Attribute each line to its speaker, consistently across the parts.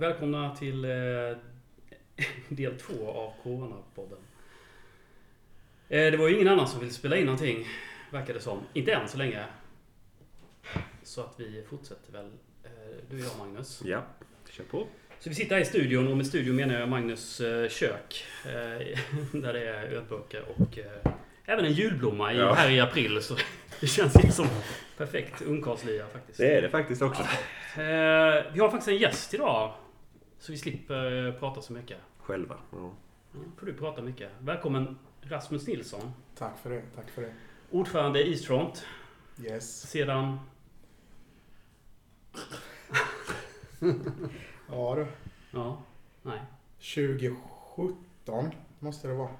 Speaker 1: välkomna till eh, del två av Corona-podden. Eh, det var ju ingen annan som ville spela in någonting, verkar det som. Inte än så länge. Så att vi fortsätter väl, eh, du och jag Magnus.
Speaker 2: Ja, kör på.
Speaker 1: Så vi sitter här i studion och med studion menar jag Magnus eh, kök. Eh, där det är ölburkar och eh, även en julblomma i,
Speaker 2: Ja.
Speaker 1: här i april. Så det känns ju som perfekt ungkarlslia faktiskt.
Speaker 2: Det är det faktiskt också.
Speaker 1: Eh, vi har faktiskt en gäst idag. Så vi slipper eh, prata så mycket.
Speaker 2: Själva. Ja.
Speaker 1: Nu får du prata mycket. Välkommen Rasmus Nilsson.
Speaker 3: Tack för det, tack för det.
Speaker 1: Ordförande i Eastront.
Speaker 3: Yes.
Speaker 1: Sedan...
Speaker 3: Ja du.
Speaker 1: Ja. Nej.
Speaker 3: 2017 måste det vara.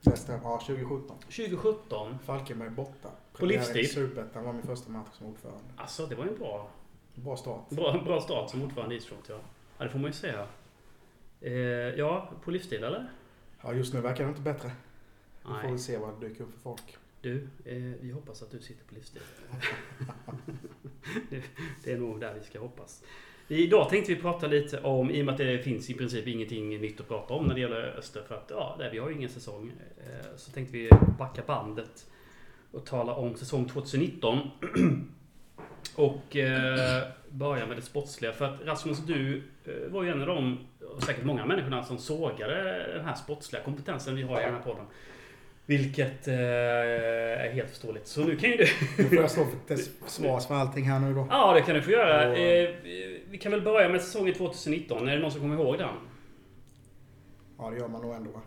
Speaker 3: Det stämmer. Ja, 2017.
Speaker 1: 2017.
Speaker 3: Falkenberg borta.
Speaker 1: På livstid.
Speaker 3: Premiären i Superettan var min första match som ordförande.
Speaker 1: Alltså det var ju en bra,
Speaker 3: Bra start.
Speaker 1: bra, bra start som ordförande i Eastront ja. Ja det får man ju säga. Eh, ja, på livstid eller?
Speaker 3: Ja, just nu verkar det inte bättre. Vi får
Speaker 1: Nej.
Speaker 3: väl se vad det dyker upp för folk.
Speaker 1: Du, eh, vi hoppas att du sitter på livstid. det, det är nog där vi ska hoppas. Vi- Idag tänkte vi prata lite om, i och med att det finns i princip ingenting nytt att prata om när det gäller Öster, för att ja, nej, vi har ju ingen säsong. Eh, Så tänkte vi backa bandet och tala om säsong 2019. och eh, börja med det sportsliga. För att Rasmus, du eh, var ju en av de, och säkert många människorna, som sågade den här sportsliga kompetensen vi har i den här podden. Vilket eh, är helt förståeligt. Så nu kan ju du...
Speaker 3: Nu får jag stå för till svars för allting här nu då.
Speaker 1: Ja, det kan du få göra.
Speaker 3: Och-
Speaker 1: Eh, vi kan väl börja med säsongen 2019. Är det någon som kommer ihåg den?
Speaker 3: Ja, det gör man nog ändå. va?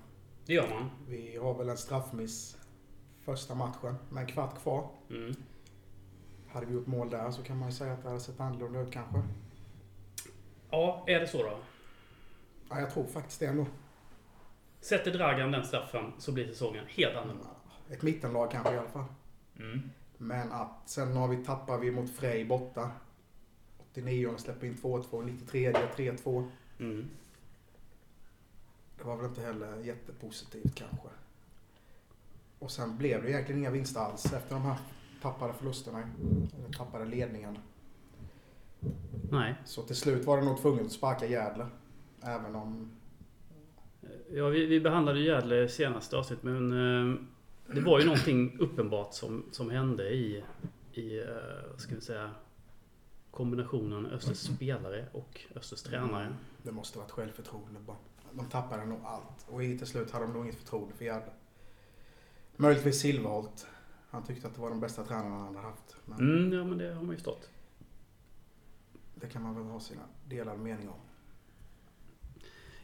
Speaker 1: Det gör man.
Speaker 3: Vi har väl en straffmiss första matchen med en kvart kvar.
Speaker 1: Mm.
Speaker 3: Hade vi gjort mål där så kan man ju säga att det hade sett annorlunda ut kanske.
Speaker 1: Ja, är det så då?
Speaker 3: Ja, jag tror faktiskt det ändå.
Speaker 1: Sätter Dragan den straffen så blir säsongen helt annorlunda.
Speaker 3: Ett mittenlag kanske i alla fall.
Speaker 1: Mm.
Speaker 3: Men att sen har vi tappar vi mot Frej borta. 89 släpper in 2-2, 93 3-2.
Speaker 1: Mm.
Speaker 3: Det var väl inte heller jättepositivt kanske. Och sen blev det egentligen inga vinster alls efter de här tappade förlusterna. Eller tappade ledningen.
Speaker 1: Nej.
Speaker 3: Så till slut var det nog tvunget att sparka Gärdle. Även om...
Speaker 1: Ja, vi, vi behandlade ju Gävle i senaste avsnittet, men eh, det var ju någonting uppenbart som, som hände i, i eh, vad ska vi säga, kombinationen Östers spelare och Östers tränare.
Speaker 3: Det måste varit självförtroende bara. De tappade nog allt. Och i- till slut hade de nog inget förtroende för Gärdle. Möjligtvis Silverholt. Han tyckte att det var den bästa tränaren han hade haft. Men...
Speaker 1: Mm, ja, men det har man ju förstått.
Speaker 3: Det kan man väl ha sina delade meningar om.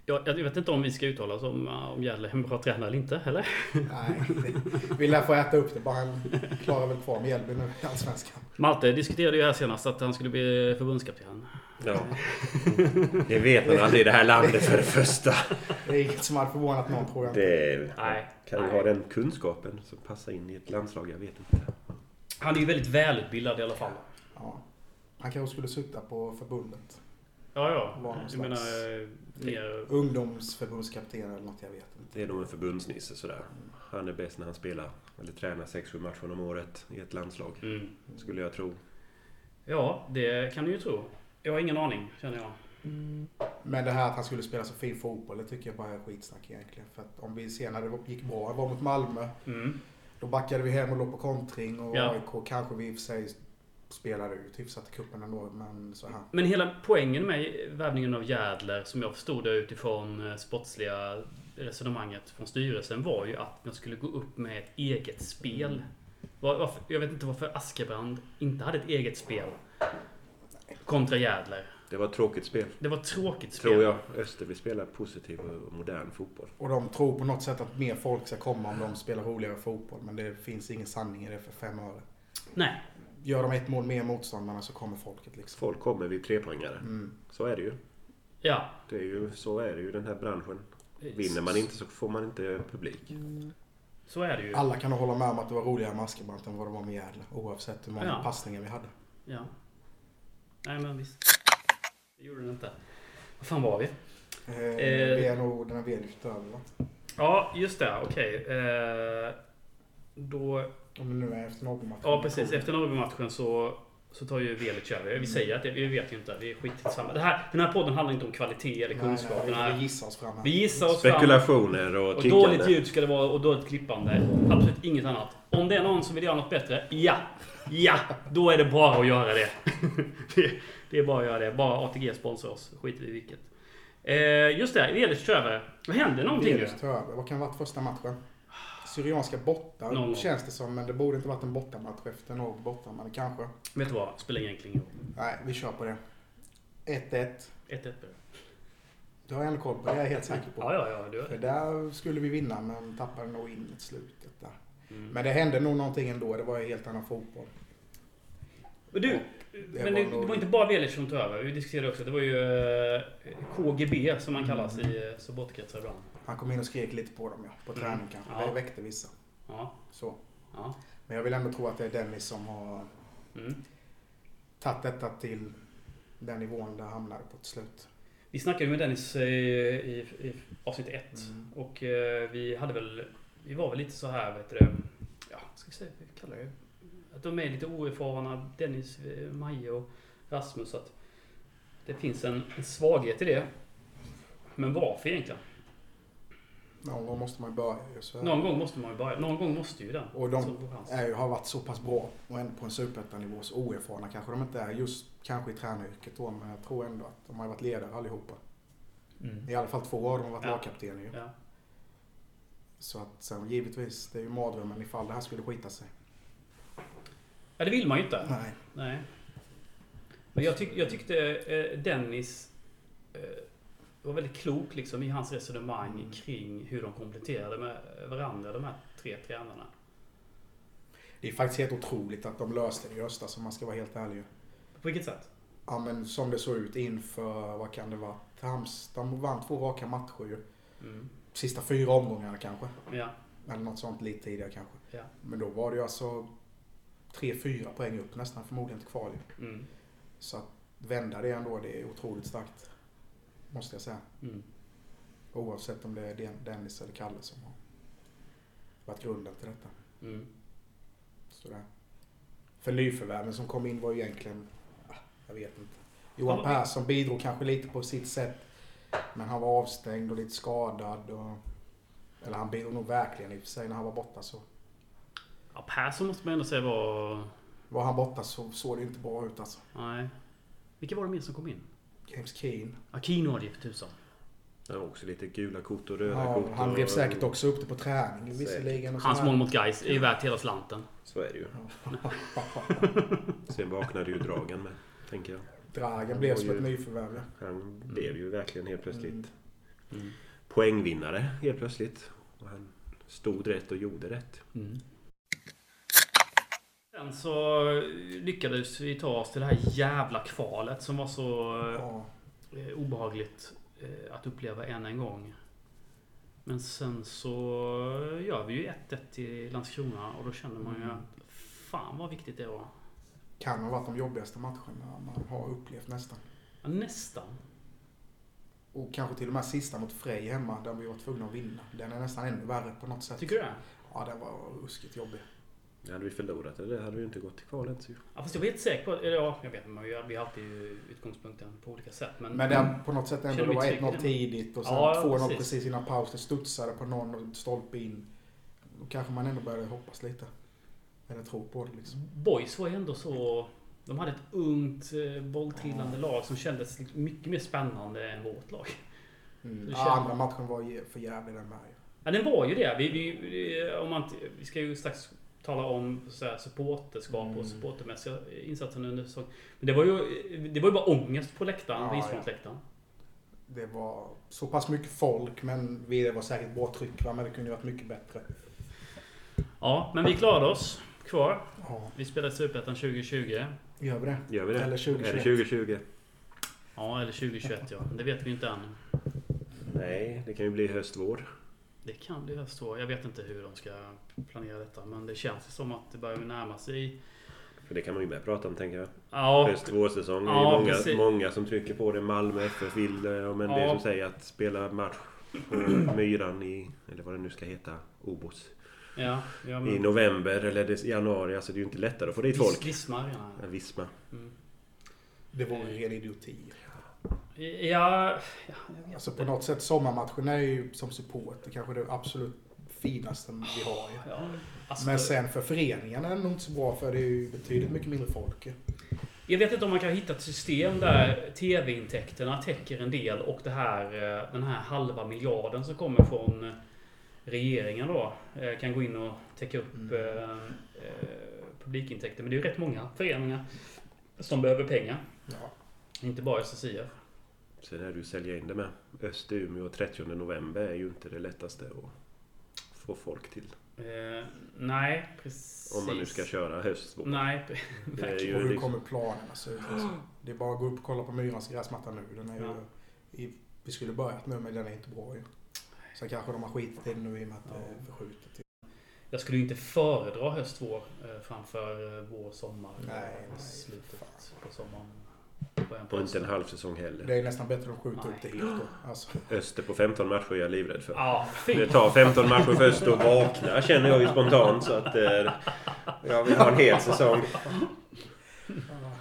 Speaker 1: Ja, jag vet inte om vi ska uttala oss om, eh, om Gävle är en bra tränare eller inte, eller?
Speaker 3: Nej, det- vi lär få äta upp det bara. Han klarar väl kvar Mjällby nu i Allsvenskan.
Speaker 1: Malte diskuterade ju här senast att han skulle bli förbundskapten.
Speaker 2: ja. Det vet man aldrig i det här landet för det första.
Speaker 3: Det är inget som hade förvånat någon tror jag. inte.
Speaker 2: Det
Speaker 1: Nej.
Speaker 2: kan ju
Speaker 1: Nej.
Speaker 2: ha den kunskapen som passar in i ett landslag, jag vet inte.
Speaker 1: Han är ju väldigt välutbildad i alla fall.
Speaker 3: Ja. Han kanske skulle sitta på förbundet.
Speaker 1: Ja,
Speaker 3: Var
Speaker 1: ja. Jag
Speaker 3: någonstans.
Speaker 1: menar... eh, mer-
Speaker 3: Ungdomsförbundskapten eller något, jag vet inte.
Speaker 2: Det är nog en förbundsnisse sådär. Han är bäst när han spelar, eller tränar 6-7 matcher om året i ett landslag.
Speaker 1: Mm.
Speaker 2: Skulle jag tro.
Speaker 1: Ja, det kan du ju tro. Jag har ingen aning, känner jag.
Speaker 3: Men det här att han skulle spela så fin fotboll, det tycker jag bara är skitsnack egentligen. För att om vi ser när det gick bra, det var mot Malmö,
Speaker 1: Mm.
Speaker 3: då backade vi hem och låg på kontring och
Speaker 1: Ja.
Speaker 3: AIK kanske vi i och för sig spelade ut hyfsat i cupen ändå, men så här.
Speaker 1: Men hela poängen med värvningen av Jädler, som jag förstod det utifrån eh, sportsliga resonemanget från styrelsen, var ju att man skulle gå upp med ett eget spel. Var- Varför, jag vet inte varför Askebrand inte hade ett eget spel. Kontra Jädler.
Speaker 2: Det var ett tråkigt spel.
Speaker 1: Det var ett tråkigt spel.
Speaker 2: Tror jag. Öster vill spela positiv och modern fotboll.
Speaker 3: Och de tror på något sätt att mer folk ska komma om de spelar roligare fotboll. Men det finns ingen sanning i det för fem öre.
Speaker 1: Nej.
Speaker 3: Gör de ett mål mer än motståndarna så kommer folket liksom.
Speaker 2: Folk kommer vid trepoängare.
Speaker 3: Mm.
Speaker 2: Så är det ju.
Speaker 1: Ja.
Speaker 2: Det är ju. Så är det ju i den här branschen. Vinner man inte så får man inte publik.
Speaker 1: Så är det ju.
Speaker 3: Alla kan nog hålla med om att det var roligare med Askebrant än vad det var med Gärdle. Oavsett hur många
Speaker 1: Ja.
Speaker 3: passningar vi hade.
Speaker 1: Ja. Nej men visst. Det gjorde den inte. Vad fan var vi?
Speaker 3: Eh,
Speaker 1: Eh.
Speaker 3: Vi är nog den här vd över va?
Speaker 1: Ja, just det. Okej. Eh, då
Speaker 3: Om det nu är efter Norrbymatchen.
Speaker 1: Ja, precis. Efter Norrbymatchen så, Så tar ju Velic över.
Speaker 3: Mm.
Speaker 1: Vi säger att det, vi vet ju inte. Vi är skitsamma. Det här, den här podden handlar inte om kvalitet eller kunskap.
Speaker 3: Nej,
Speaker 1: Den
Speaker 3: nej, vi
Speaker 1: här,
Speaker 3: gissar oss fram här.
Speaker 1: vi gissar oss fram.
Speaker 2: Spekulationer och
Speaker 1: Och
Speaker 2: kickande.
Speaker 1: dåligt ljud ska det vara och dåligt klippande. Absolut inget annat. Om det är någon som vill göra något bättre, ja! Ja! Då är det bara att göra det. det, det är bara att göra det. Bara ATG sponsrar oss. Skit i vilket. Eh, just det, Velic kör över. Vad hände någonting nu?
Speaker 3: Venus tar över. Vad kan ha varit första matchen? Syrianska borta
Speaker 1: Noll noll.
Speaker 3: känns det som, men det borde inte varit en bortamatch efter något borta, men kanske.
Speaker 1: Vet du vad? Spelar egentligen ingen
Speaker 3: Nej, vi kör på det. 1-1.
Speaker 1: roll. 1-1 blir det.
Speaker 3: Du har jag ändå koll på, det är jag helt säker på.
Speaker 1: Ja, ja, ja.
Speaker 3: För
Speaker 1: Du.
Speaker 3: där skulle vi vinna, men tappade nog in i slutet där.
Speaker 1: Mm.
Speaker 3: Men det hände nog någonting ändå. Det var ju helt annan fotboll.
Speaker 1: Och du, men det, det var inte bara Velic som tog över. Vi diskuterade också. Det var ju eh, KGB som man kallas
Speaker 3: Mm.
Speaker 1: i eh, supportkretsar ibland.
Speaker 3: Han kom in och skrek lite på dem, ja. På träning
Speaker 1: Mm.
Speaker 3: kanske.
Speaker 1: Ja.
Speaker 3: Det väckte vissa.
Speaker 1: Ja,
Speaker 3: Så.
Speaker 1: ja.
Speaker 3: Men jag vill ändå tro att det är Dennis som har
Speaker 1: Mm.
Speaker 3: tagit detta till den nivån där han hamnade på till slut.
Speaker 1: Vi snackade ju med Dennis eh, i, i avsnitt 1
Speaker 3: Mm.
Speaker 1: och eh, vi hade väl, vi var väl lite så här, vet du, det, ja, vad ska vi säga, vi kallar det, att de är lite oerfarna, Dennis, eh, Maje och Rasmus, att det finns en, en svaghet i det. Men varför egentligen?
Speaker 3: Någon gång måste man ju börja ju. Så är det.
Speaker 1: Någon gång måste man ju börja, någon gång måste ju den.
Speaker 3: Och de-
Speaker 1: som får chans.
Speaker 3: är ju, har varit så pass bra och ändå på en superettanivå så oerfarna kanske de inte är just kanske i tränaryrket då men jag tror ändå att de har varit ledare allihopa.
Speaker 1: Mm.
Speaker 3: I alla fall två av dem har varit
Speaker 1: Ja.
Speaker 3: lagkaptener ju.
Speaker 1: Ja.
Speaker 3: Så att sen givetvis, det är ju mardrömmen ifall det här skulle skita sig.
Speaker 1: ja, det vill man ju inte.
Speaker 3: Nej.
Speaker 1: Nej. Men jag, tyck, jag tyckte eh, Dennis eh, var väldigt klok liksom, i hans resonemang
Speaker 3: Mm.
Speaker 1: kring hur de kompletterade med varandra, de här tre tränarna.
Speaker 3: Det är faktiskt helt otroligt att de löste det i höstas om man ska vara helt ärlig. ju.
Speaker 1: På vilket sätt?
Speaker 3: Ja men som det såg ut inför, vad kan det vara, Halmstad de vann två raka matcher ju.
Speaker 1: Mm.
Speaker 3: Sista fyra omgångarna kanske.
Speaker 1: Ja.
Speaker 3: Eller något sånt lite tidigare kanske.
Speaker 1: Ja.
Speaker 3: Men då var det ju alltså tre, fyra poäng upp nästan förmodligen till kvar ju.
Speaker 1: Mm.
Speaker 3: Så att vända det ändå, det är otroligt starkt. Måste jag säga.
Speaker 1: Mm.
Speaker 3: Oavsett om det är Den- Dennis eller Kalle som har varit grunden till detta.
Speaker 1: Mm.
Speaker 3: Sådär. För nyförvärven som kom in var ju egentligen, ah, jag vet inte.
Speaker 1: Ja,
Speaker 3: Johan
Speaker 1: men-
Speaker 3: Persson bidrog kanske lite på sitt sätt. Men han var avstängd och lite skadad. Och, eller han bidrog nog verkligen i och för sig när han var borta så.
Speaker 1: Ja, Persson måste man ändå säga var...
Speaker 3: Var han borta så såg det inte bra ut alltså.
Speaker 1: Nej. Vilka var det mer som kom in?
Speaker 3: James Keane.
Speaker 1: Aquino var det ju för tusan.
Speaker 2: Ja, också lite gula kort och röda
Speaker 3: Ja,
Speaker 2: kort.
Speaker 3: han
Speaker 2: och-
Speaker 3: rev säkert också upp det på träning visserligen. och
Speaker 1: Hans
Speaker 3: sådär.
Speaker 1: mål mot Gais är ju värt hela slanten.
Speaker 2: Så är det ju. Sen vaknade ju Dragan med, tänker jag.
Speaker 3: Dragan blev
Speaker 2: Oj,
Speaker 3: som ett
Speaker 2: oj.
Speaker 3: nyförvärv. ja.
Speaker 2: Han blev ju verkligen helt plötsligt
Speaker 3: Mm.
Speaker 1: Mm.
Speaker 2: poängvinnare helt plötsligt. Och han stod rätt och gjorde rätt.
Speaker 1: Mm. Sen så lyckades vi ta oss till det här jävla kvalet som var så
Speaker 3: Ja.
Speaker 1: eh, obehagligt eh, att uppleva än en gång. Men sen så gör vi ju 1-1 till Landskrona och då känner man ju att fan vad viktigt det var.
Speaker 3: Kan ha varit de jobbigaste matcherna man har upplevt nästan.
Speaker 1: Ja, nästan.
Speaker 3: Och kanske till och med sista mot Frej hemma där vi var tvungna att vinna. Den är nästan ännu värre på något sätt.
Speaker 1: Tycker du det?
Speaker 3: Ja, den var ruskigt jobbig.
Speaker 2: Hade vi förlorat eller hade vi inte gått till kvalet. så-
Speaker 1: Ja, fast jag var helt säker på att, eller ja, jag vet men vi har vi har alltid utgångspunkten på olika sätt. Men,
Speaker 3: Men den på något sätt ändå,
Speaker 1: Känner
Speaker 3: det
Speaker 1: vi
Speaker 3: var
Speaker 1: trycket
Speaker 3: 1-0
Speaker 1: ändå?
Speaker 3: tidigt och sen
Speaker 1: Ja,
Speaker 3: 2-0
Speaker 1: precis.
Speaker 3: precis. innan paus. Det studsade på någon och stolpe in. Då kanske man ändå började hoppas lite. Eller tro på det liksom.
Speaker 1: Boys var ju ändå så... De hade ett ungt eh, bolltrillande lag som kändes liksom mycket mer spännande än vårt lag.
Speaker 3: Mm.
Speaker 1: Det
Speaker 3: Ja,
Speaker 1: känns-
Speaker 3: andra matchen var ju för jävlig den med. ju.
Speaker 1: Ja, den var ju det. Vi, vi, eh, om man, inte- vi ska ju strax tala om så här, supporterskap
Speaker 3: Mm.
Speaker 1: och supportermässiga insatser under säsong. Men det var ju, det var ju bara ångest på läktaren,
Speaker 3: Ja,
Speaker 1: på
Speaker 3: ja.
Speaker 1: isfrontläktaren.
Speaker 3: Det var så pass mycket folk, men vi- det var säkert bra tryck va? men det kunde ju varit mycket bättre.
Speaker 1: Ja, men vi klarade oss kvar.
Speaker 3: Ja,
Speaker 1: Vi spelade Superettan 2020.
Speaker 3: gör vi det?
Speaker 2: Gör vi det?
Speaker 3: Eller 2021.
Speaker 2: Eller 2020?
Speaker 1: Ja, eller 2021 ja. Det vet vi inte än.
Speaker 2: Nej, det kan ju bli höst-vår.
Speaker 1: Det kan bli höst då. Jag vet inte hur de ska planera detta, men det känns som att det börjar närma sig.
Speaker 2: För det kan man ju med prata om tänker jag.
Speaker 1: Ja,
Speaker 2: Höst-vårsäsong. Det är
Speaker 1: Ja,
Speaker 2: många,
Speaker 1: precis.
Speaker 2: många som trycker på det. Malmö FF vill det. Men
Speaker 1: Ja.
Speaker 2: det är som säger att spela match på Myran i, eller vad det nu ska heta, Obos.
Speaker 1: Ja, ja,
Speaker 2: i
Speaker 1: men,
Speaker 2: november eller i januari. Alltså det är ju inte lättare att få dit folk.
Speaker 1: Vismar, ja.
Speaker 2: Ja, Visma.
Speaker 1: Mm.
Speaker 3: Det vore ju ren idioti.
Speaker 1: Ja, ja, jag vet
Speaker 3: Alltså på
Speaker 1: inte.
Speaker 3: något sätt, sommarmatcherna är ju som supporter kanske det absolut finaste vi har. ju.
Speaker 1: Ja, alltså,
Speaker 3: Men sen för föreningarna är det nog inte så bra för det är ju betydligt mycket mindre folk. ju.
Speaker 1: Jag vet inte om man kan hitta ett system där tv-intäkterna täcker en del och det här, eh, den här halva miljarden som kommer från regeringen då eh, kan gå in och täcka upp
Speaker 3: Mm.
Speaker 1: eh, eh, publikintäkter. Men det är ju rätt många föreningar som behöver pengar.
Speaker 3: Ja.
Speaker 1: Inte bara SSIF.
Speaker 2: Sen är det ju att sälja in det med. Öster Umeå 30 november är ju inte det lättaste att få folk till.
Speaker 1: Eh, nej, precis.
Speaker 2: Om man nu ska köra höstspår.
Speaker 1: Nej,
Speaker 2: Det är
Speaker 1: verkligen.
Speaker 2: ju
Speaker 3: Och hur
Speaker 2: liksom-
Speaker 3: kommer planerna se ut? Alltså? Det är bara att gå upp och kolla på Myrans gräsmatta nu. Den är ju,
Speaker 1: Ja.
Speaker 3: i, vi skulle börjat nu men den är inte bra ju. Sen kanske de har skitit i den nu i och med att det är förskjutet. till-
Speaker 1: Jag skulle ju inte föredra höst vår eh, framför eh, vår sommar.
Speaker 3: Nej,
Speaker 1: och
Speaker 3: nej,
Speaker 1: slutet
Speaker 3: fan.
Speaker 1: på sommaren. Början på
Speaker 2: Och inte en
Speaker 1: hösten.
Speaker 2: halv säsong heller.
Speaker 3: Det är nästan bättre att de skjuter upp det helt då. Alltså,
Speaker 2: Öster på 15 matcher är jag livrädd för.
Speaker 1: Ja, fy
Speaker 2: Det tar 15 matcher för Öster att vakna känner jag ju spontant. Så att eh, jag vill ha en hel säsong.
Speaker 3: ja.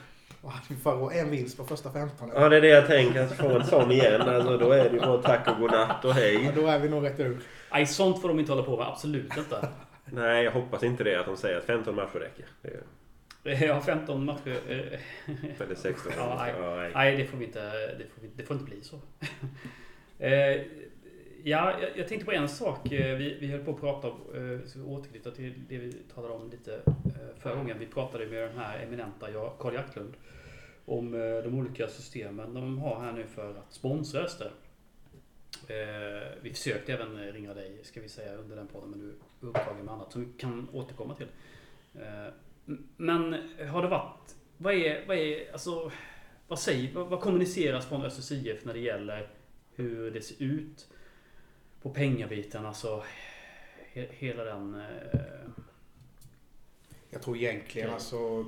Speaker 3: Och hade förra året en vinst på första 15.
Speaker 2: Ja, det är det jag tänker. Att få en sån igen. Alltså, då är det ju bara tack och godnatt och
Speaker 3: Ja,
Speaker 2: hej.
Speaker 3: då är vi nog rätt ur.
Speaker 1: Nej, sånt får de inte hålla på med. Absolut inte.
Speaker 2: Nej, jag hoppas inte det. Att de säger att 15 matcher räcker. Det är-
Speaker 1: Jag har 15 matcher. eh,
Speaker 2: Eller 16.
Speaker 1: Ja, nej.
Speaker 2: Ja, nej.
Speaker 1: Nej, det får vi inte. Det får, vi, det får inte bli så. Eh, Ja, jag, jag tänkte på en sak. Eh, Vi, vi höll på att prata om, eh, vi ska återknyta till det vi talade om lite eh, förra gången. Vi pratade med den här eminenta Ja- Carl Jacklund om eh, de olika systemen de har här nu för att sponsra Öster. Eh, Vi försökte även eh, ringa dig, ska vi säga, under den podden, men du är upptagen med annat som vi kan återkomma till. Eh, m- Men har det varit... Vad är... Vad är alltså, vad, säger, vad, vad kommuniceras från Östers IF när det gäller hur det ser ut på pengabiten? Alltså he, hela den... Eh,
Speaker 3: Jag tror egentligen
Speaker 1: Okej.
Speaker 3: alltså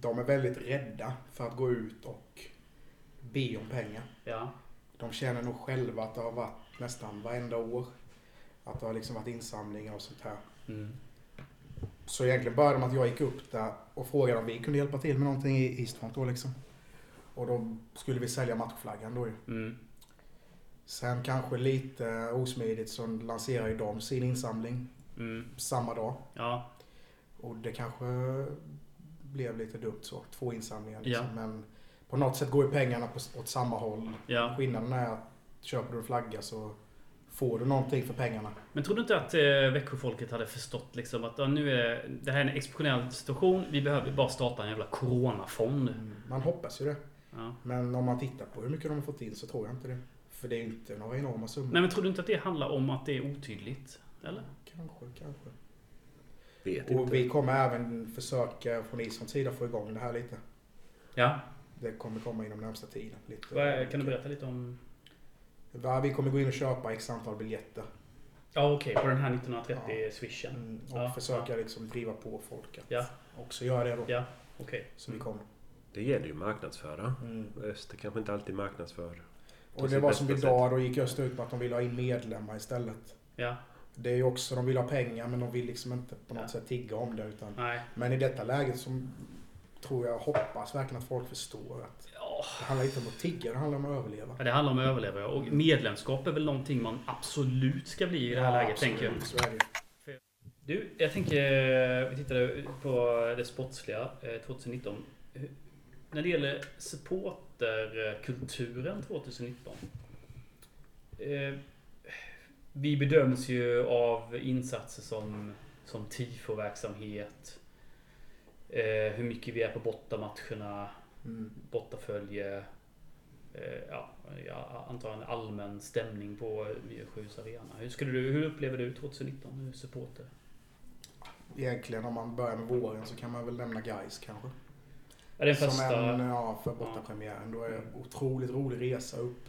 Speaker 3: de är väldigt rädda för att gå ut och be om pengar.
Speaker 1: ja.
Speaker 3: De känner nog själva att det har varit nästan varenda år. Att det har liksom varit insamlingar och sånt här.
Speaker 1: Mm.
Speaker 3: Så egentligen började de att jag gick upp där och frågade om vi kunde hjälpa till med någonting i Eastmont då liksom. Och då skulle vi sälja matchflaggan då ju.
Speaker 1: Mm.
Speaker 3: Sen kanske lite osmidigt så lanserar ju de sin insamling
Speaker 1: Mm.
Speaker 3: samma dag.
Speaker 1: Ja.
Speaker 3: Och det kanske blev lite dumt så. Två insamlingar liksom.
Speaker 1: Ja.
Speaker 3: Men på något sätt går ju pengarna på, åt samma håll.
Speaker 1: Ja.
Speaker 3: Skillnaden är att köper du en flagga så får du någonting för pengarna.
Speaker 1: Men tror du inte att eh, Växjöfolket hade förstått liksom att ja, nu är det här är en exceptionell situation. Vi behöver bara starta en jävla coronafond.
Speaker 3: Man hoppas ju det.
Speaker 1: Ja.
Speaker 3: Men om man tittar på hur mycket de har fått in så tror jag inte det. För det är ju inte några enorma summor.
Speaker 1: Nej men tror du inte att det handlar om att det är otydligt? Eller?
Speaker 3: Kanske, kanske.
Speaker 2: Vet
Speaker 3: Och
Speaker 2: inte.
Speaker 3: vi kommer även försöka från Islands sida få igång det här lite.
Speaker 1: Ja.
Speaker 3: Det kommer komma inom närmsta tiden. Lite.
Speaker 1: Vad är- Kan du berätta lite om...
Speaker 3: Ja, Vi kommer gå in och köpa x antal biljetter.
Speaker 1: Ja okej, på den här 1930-swishen.
Speaker 3: Mm, och
Speaker 1: Ja,
Speaker 3: försöka liksom driva på folk att
Speaker 1: Ja.
Speaker 3: också göra det då.
Speaker 1: Ja, okej.
Speaker 3: Så vi Mm. kommer.
Speaker 2: Det gäller ju att marknadsföra.
Speaker 1: Mm.
Speaker 2: Öster kanske inte alltid marknadsför.
Speaker 3: Och det
Speaker 2: sitt
Speaker 3: var som
Speaker 2: bästa
Speaker 3: idag, då gick Öster ut med att de ville ha in medlemmar istället.
Speaker 1: Ja,
Speaker 3: Det är ju också, de vill ha pengar men de vill liksom inte på något
Speaker 1: Ja.
Speaker 3: sätt tigga om det. Utan,
Speaker 1: nej.
Speaker 3: men i detta läget så tror jag, hoppas verkligen att folk förstår att
Speaker 1: Ja,
Speaker 3: det handlar inte om att tigga, det handlar om att överleva.
Speaker 1: det handlar om att överleva ja. och medlemskap är väl någonting man absolut ska bli i det här läget tänker jag.
Speaker 3: Så är det ju.
Speaker 1: Du, jag tänker, eh, vi tittade på det sportsliga eh, 2019. Hur- När det gäller supporterkulturen 2019. eh, Vi bedöms ju av insatser som, som tifo-verksamhet. eh, Hur mycket vi är på bortamatcherna.
Speaker 3: Mm.
Speaker 1: bortafölje. eh, Ja, jag antar en allmän stämning på Myresjös arena. Hur, skulle du, hur upplever du 2019 nu supporter?
Speaker 3: Egentligen om man börjar med våren så kan man väl nämna guys kanske.
Speaker 1: Är det
Speaker 3: Som
Speaker 1: första...
Speaker 3: en, ja, för bortapremiären. Då är det en otroligt rolig resa upp.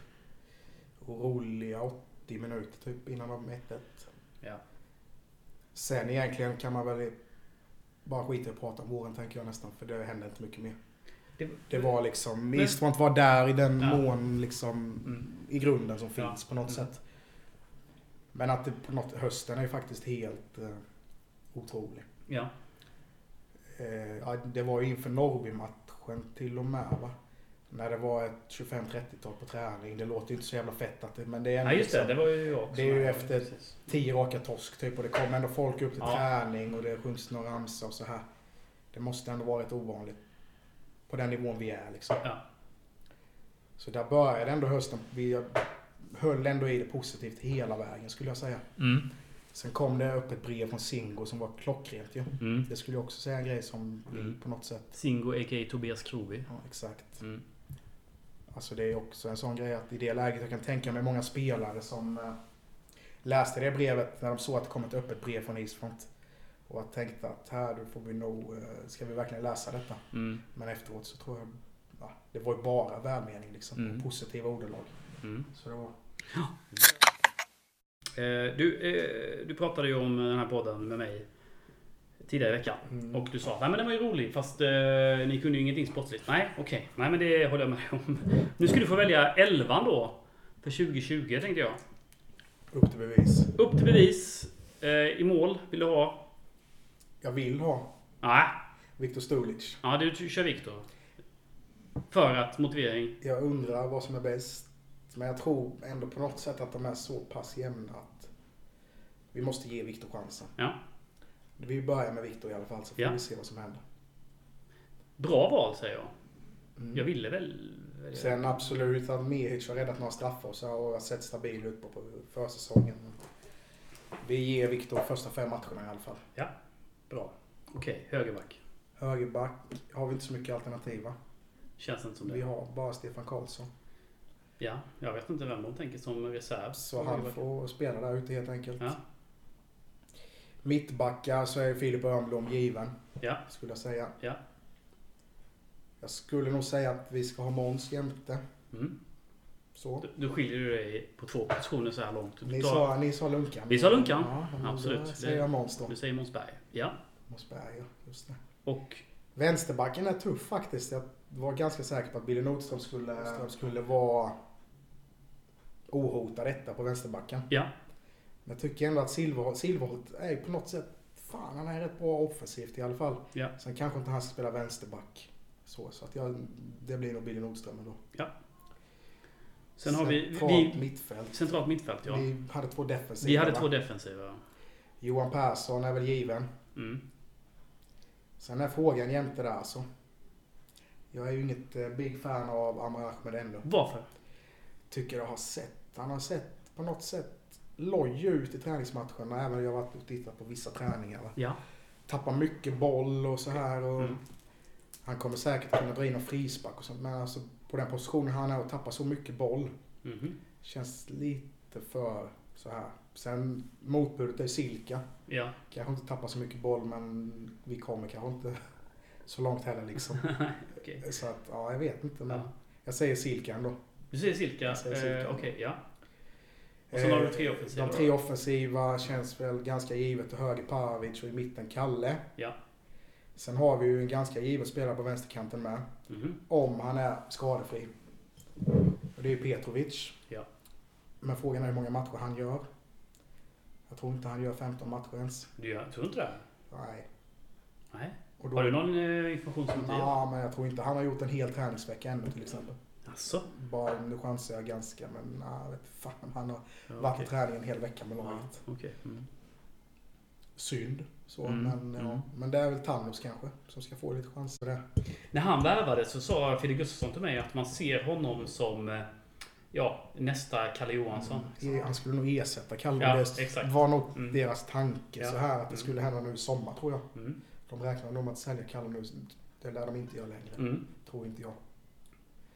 Speaker 3: Och roliga 80 minuter typ innan de 1-1.
Speaker 1: Ja.
Speaker 3: Sen egentligen kan man väl bara skita i att prata om våren tänker jag nästan. För det hände inte mycket mer.
Speaker 1: Det,
Speaker 3: Det var liksom,
Speaker 1: Men-
Speaker 3: Eastmont var där i den
Speaker 1: Ja.
Speaker 3: mån liksom
Speaker 1: Mm.
Speaker 3: i grunden som
Speaker 1: Ja.
Speaker 3: finns på något
Speaker 1: Mm.
Speaker 3: sätt. Men att det på något, hösten är ju faktiskt helt eh, otrolig.
Speaker 1: Ja.
Speaker 3: Eh, ja, det var ju inför Norrby-matchen till och med va? När det var ett 25-30-tal på träning. Det låter ju inte så jävla fett att det, men det är ändå
Speaker 1: Nej just det,
Speaker 3: liksom
Speaker 1: det var ju jag också.
Speaker 3: Det är ju
Speaker 1: med.
Speaker 3: efter-
Speaker 1: Precis.
Speaker 3: tio raka torsk typ. Och det kom ändå folk upp till
Speaker 1: Ja.
Speaker 3: träning och det sjungs några ramsor och så här. Det måste ändå vara rätt ovanligt. På den nivån vi är liksom.
Speaker 1: Ja.
Speaker 3: Så där började ändå hösten. Vi höll ändå i det positivt hela vägen skulle jag säga.
Speaker 1: Mm.
Speaker 3: Sen kom det upp ett brev från Singo som var klockrent ju.
Speaker 1: Mm.
Speaker 3: Det skulle jag också säga en grej som vi
Speaker 1: Mm.
Speaker 3: på något sätt...
Speaker 1: Singo a.k.a. Tobias Krovi.
Speaker 3: Ja, exakt.
Speaker 1: Mm.
Speaker 3: Alltså det är också en sån grej att i det läget jag kan tänka mig många spelare som eh, läste det brevet när de såg att det kom ett öppet brev från Eastfront. Och tänkte att här då får vi nog, eh, ska vi verkligen läsa detta?
Speaker 1: Mm.
Speaker 3: Men efteråt så tror jag, ja, det var ju bara välmening liksom.
Speaker 1: Mm.
Speaker 3: och Positiva ordalag.
Speaker 1: Mm.
Speaker 3: Så det var,
Speaker 1: Eh, du, eh, du pratade ju om den här podden med mig tidigare i veckan.
Speaker 3: Mm.
Speaker 1: Och du sa nej men den var ju rolig fast eh, ni kunde ju ingenting sportsligt. Nej okej, nej men det håller jag med om. Nu ska du få välja elvan då. För 2020 tänkte jag.
Speaker 3: upp till bevis.
Speaker 1: Upp till bevis. Eh, I mål vill du ha?
Speaker 3: Jag vill ha
Speaker 1: Nej,
Speaker 3: Viktor Stulic.
Speaker 1: ja, du kör Viktor. För att motivering.
Speaker 3: Jag undrar vad som är bäst. Men jag tror ändå på något sätt att de är så pass jämna att vi måste ge Viktor chansen.
Speaker 1: Ja.
Speaker 3: Vi börjar med Viktor i alla fall så får
Speaker 1: Ja.
Speaker 3: vi se vad som händer.
Speaker 1: Bra val säger jag.
Speaker 3: Mm.
Speaker 1: Jag ville väl... välja-
Speaker 3: Sen absolut att Mehic har räddat några straffar och så har jag sett stabil ut på, på försäsongen. Vi ger Viktor första fem matcherna i alla fall.
Speaker 1: Ja, bra. Okej, högerback.
Speaker 3: Högerback har vi inte så mycket alternativ va?
Speaker 1: Känns inte som
Speaker 3: Vi
Speaker 1: det.
Speaker 3: har bara Stefan Karlsson.
Speaker 1: Ja, jag vet inte vem de tänker som reserv.
Speaker 3: Så han får spela där ute helt enkelt.
Speaker 1: Ja.
Speaker 3: Mittbackar så är Filip Örnblom given.
Speaker 1: Ja.
Speaker 3: Skulle jag säga.
Speaker 1: Ja.
Speaker 3: Jag skulle nog säga att vi ska ha Måns jämte.
Speaker 1: Mm.
Speaker 3: Så.
Speaker 1: Du- Du skiljer du dig på två positioner så här långt. Du
Speaker 3: Ni
Speaker 1: tar-
Speaker 3: sa, ni sa Lunkan.
Speaker 1: Vi sa Lunkan.
Speaker 3: Ja, men då
Speaker 1: Absolut.
Speaker 3: säger
Speaker 1: Det-
Speaker 3: jag Måns då.
Speaker 1: Du säger Måns Berg. Ja.
Speaker 3: Månsberg, ja. Just det.
Speaker 1: Och
Speaker 3: Vänsterbacken är tuff faktiskt. Jag var ganska säker på att Billy Nordström skulle, skulle vara ohotad etta på vänsterbacken.
Speaker 1: ja.
Speaker 3: Men jag tycker ändå att Silver- Silverholt är på något sätt, fan han är rätt bra offensivt i alla fall.
Speaker 1: Ja.
Speaker 3: Sen kanske inte han ska spela vänsterback. Så, så att jag, det blir nog Billy Nordström ändå.
Speaker 1: Sen har vi,
Speaker 3: Centralt
Speaker 1: vi
Speaker 3: mittfält.
Speaker 1: centralt mittfält. Ja.
Speaker 3: Vi hade två defensiva.
Speaker 1: Vi hade
Speaker 3: va?
Speaker 1: två defensiva.
Speaker 3: Johan Persson är väl given.
Speaker 1: Mm.
Speaker 3: Sen är frågan jämte där alltså. Jag är ju inget eh, big fan av Amar Ahmed ännu.
Speaker 1: Varför?
Speaker 3: tycker jag har sett. Han har sett på något sätt loj ut i träningsmatcherna. Även jag har varit och tittat på vissa träningar. Va?
Speaker 1: Ja.
Speaker 3: Tappar mycket boll och så här. Och
Speaker 1: Mm.
Speaker 3: Han kommer säkert kunna dra in någon frispark och sånt. Men alltså på den positionen han är och tappar så mycket boll.
Speaker 1: Mhm.
Speaker 3: Känns lite för så här. Sen motbudet är Silka.
Speaker 1: Ja.
Speaker 3: Kanske inte tappar så mycket boll men vi kommer kanske inte så långt heller liksom.
Speaker 1: Okej.
Speaker 3: Så att ja, jag vet inte. Men
Speaker 1: Ja.
Speaker 3: jag säger Silka ändå.
Speaker 1: Du säger Silka. Eh,
Speaker 3: Jag säger
Speaker 1: Okej,
Speaker 3: Silka.
Speaker 1: ja. Och sen har du tre
Speaker 3: Eh,
Speaker 1: offensiva.
Speaker 3: De tre offensiva känns väl ganska givet. Till höger Pavic och i mitten Kalle.
Speaker 1: Ja.
Speaker 3: Sen har vi ju en ganska given spelare på vänsterkanten med.
Speaker 1: Mhm.
Speaker 3: Om han är skadefri. Och det är Petrovic.
Speaker 1: Ja.
Speaker 3: Men frågan är hur många matcher han gör. Jag tror inte han gör 15 matcher ens.
Speaker 1: Du gör, tror inte det?
Speaker 3: Nej.
Speaker 1: Nej.
Speaker 3: Och
Speaker 1: Har du någon eh, information som inte jag?
Speaker 3: Ja, men jag tror inte han har gjort en hel träningsvecka ännu till exempel.
Speaker 1: Alltså.
Speaker 3: Bara, nu chansar jag ganska, men nej, vet fan. Han har
Speaker 1: Ja,
Speaker 3: varit
Speaker 1: okej.
Speaker 3: i träning en hel vecka med
Speaker 1: Ja,
Speaker 3: laget.
Speaker 1: okej. Mm.
Speaker 3: synd. Så,
Speaker 1: Mm,
Speaker 3: men,
Speaker 1: mm.
Speaker 3: Ja, men det är väl Thanos kanske som ska få lite chanser där.
Speaker 1: När han värvades så sa Fredrik Gustafsson till mig att man ser honom som eh, ja, nästa Kalle Johansson.
Speaker 3: E- Han skulle nog ersätta Kalle.
Speaker 1: Ja,
Speaker 3: det
Speaker 1: exakt.
Speaker 3: var nog
Speaker 1: Mm.
Speaker 3: deras tanke
Speaker 1: Ja.
Speaker 3: så här att det
Speaker 1: Mm.
Speaker 3: skulle hända nu i sommar tror jag.
Speaker 1: Mm.
Speaker 3: De räknar nog med att sälja Kalle nu. Det lär de inte göra längre.
Speaker 1: Mm.
Speaker 3: Tror inte jag.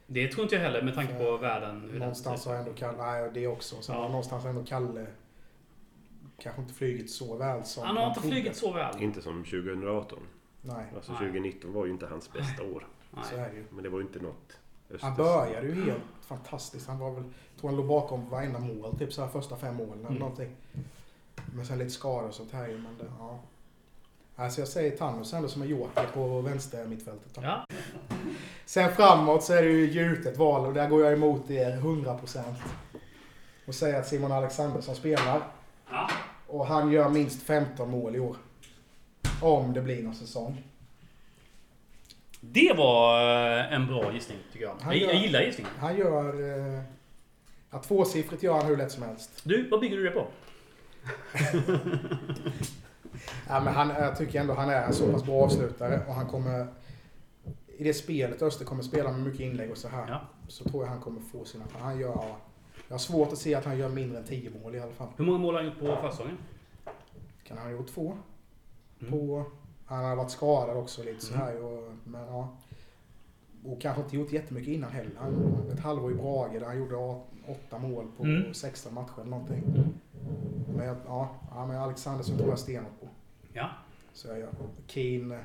Speaker 1: Det tror inte jag heller med tanke på
Speaker 3: För
Speaker 1: världen. hur den
Speaker 3: Någonstans
Speaker 1: ser ut.
Speaker 3: har ändå Kalle, nej det också. Sen
Speaker 1: Ja.
Speaker 3: har någonstans ändå Kalle kanske inte flugit så väl som
Speaker 1: Han har
Speaker 3: man
Speaker 1: inte
Speaker 3: trodde.
Speaker 1: flugit så väl.
Speaker 2: Inte som 2018.
Speaker 3: Nej,
Speaker 2: Alltså
Speaker 1: Nej.
Speaker 2: 2019 var ju inte hans bästa år.
Speaker 3: så
Speaker 1: Nej.
Speaker 3: är det ju.
Speaker 2: Men det var ju inte något
Speaker 3: Han
Speaker 2: Östers-
Speaker 3: började ju helt fantastiskt. Han var väl, jag tror han låg bakom varenda mål, typ så här första fem målen eller
Speaker 1: Mm.
Speaker 3: någonting. Men sen lite skador och sånt här ju, men det, ja. Alltså jag säger Thanos ändå som en joker på vänster mittfältet. då.
Speaker 1: Ja.
Speaker 3: Sen framåt så är det ju gjutet val och där går jag emot er 100%. Och säger att Simon Alexandersson spelar
Speaker 1: Ja.
Speaker 3: och han gör minst 15 mål i år. Om det blir någon säsong.
Speaker 1: Det var eh, en bra gissning tycker jag.
Speaker 3: Han
Speaker 1: Jag, jag
Speaker 3: gör-
Speaker 1: gillar gissningen.
Speaker 3: Han gör... Eh, ja, tvåsiffrigt gör han hur lätt som helst.
Speaker 1: Du, vad bygger du det på?
Speaker 3: Ja, men han, jag tycker ändå han är en så pass bra avslutare och han kommer... I det spelet Öster kommer spela med mycket inlägg och så här.
Speaker 1: Ja.
Speaker 3: Så tror jag han kommer få sina... Han gör... Ja, jag har svårt att se att han gör mindre än 10 mål i alla fall.
Speaker 1: Hur många mål har han gjort på försäsongen?
Speaker 3: Kan han ha gjort två?
Speaker 1: Mm.
Speaker 3: På, han har varit skadad också lite så här. Och, men, ja. och kanske inte gjort jättemycket innan heller. Han, ett halvår i Brage där han gjorde å- åtta mål på
Speaker 1: Mm.
Speaker 3: 16 matcher eller någonting.
Speaker 1: Mm.
Speaker 3: Men jag- ja, ja men Alexandersson tror jag stenhårt på.
Speaker 1: Ja.
Speaker 3: Så jag gör. Keane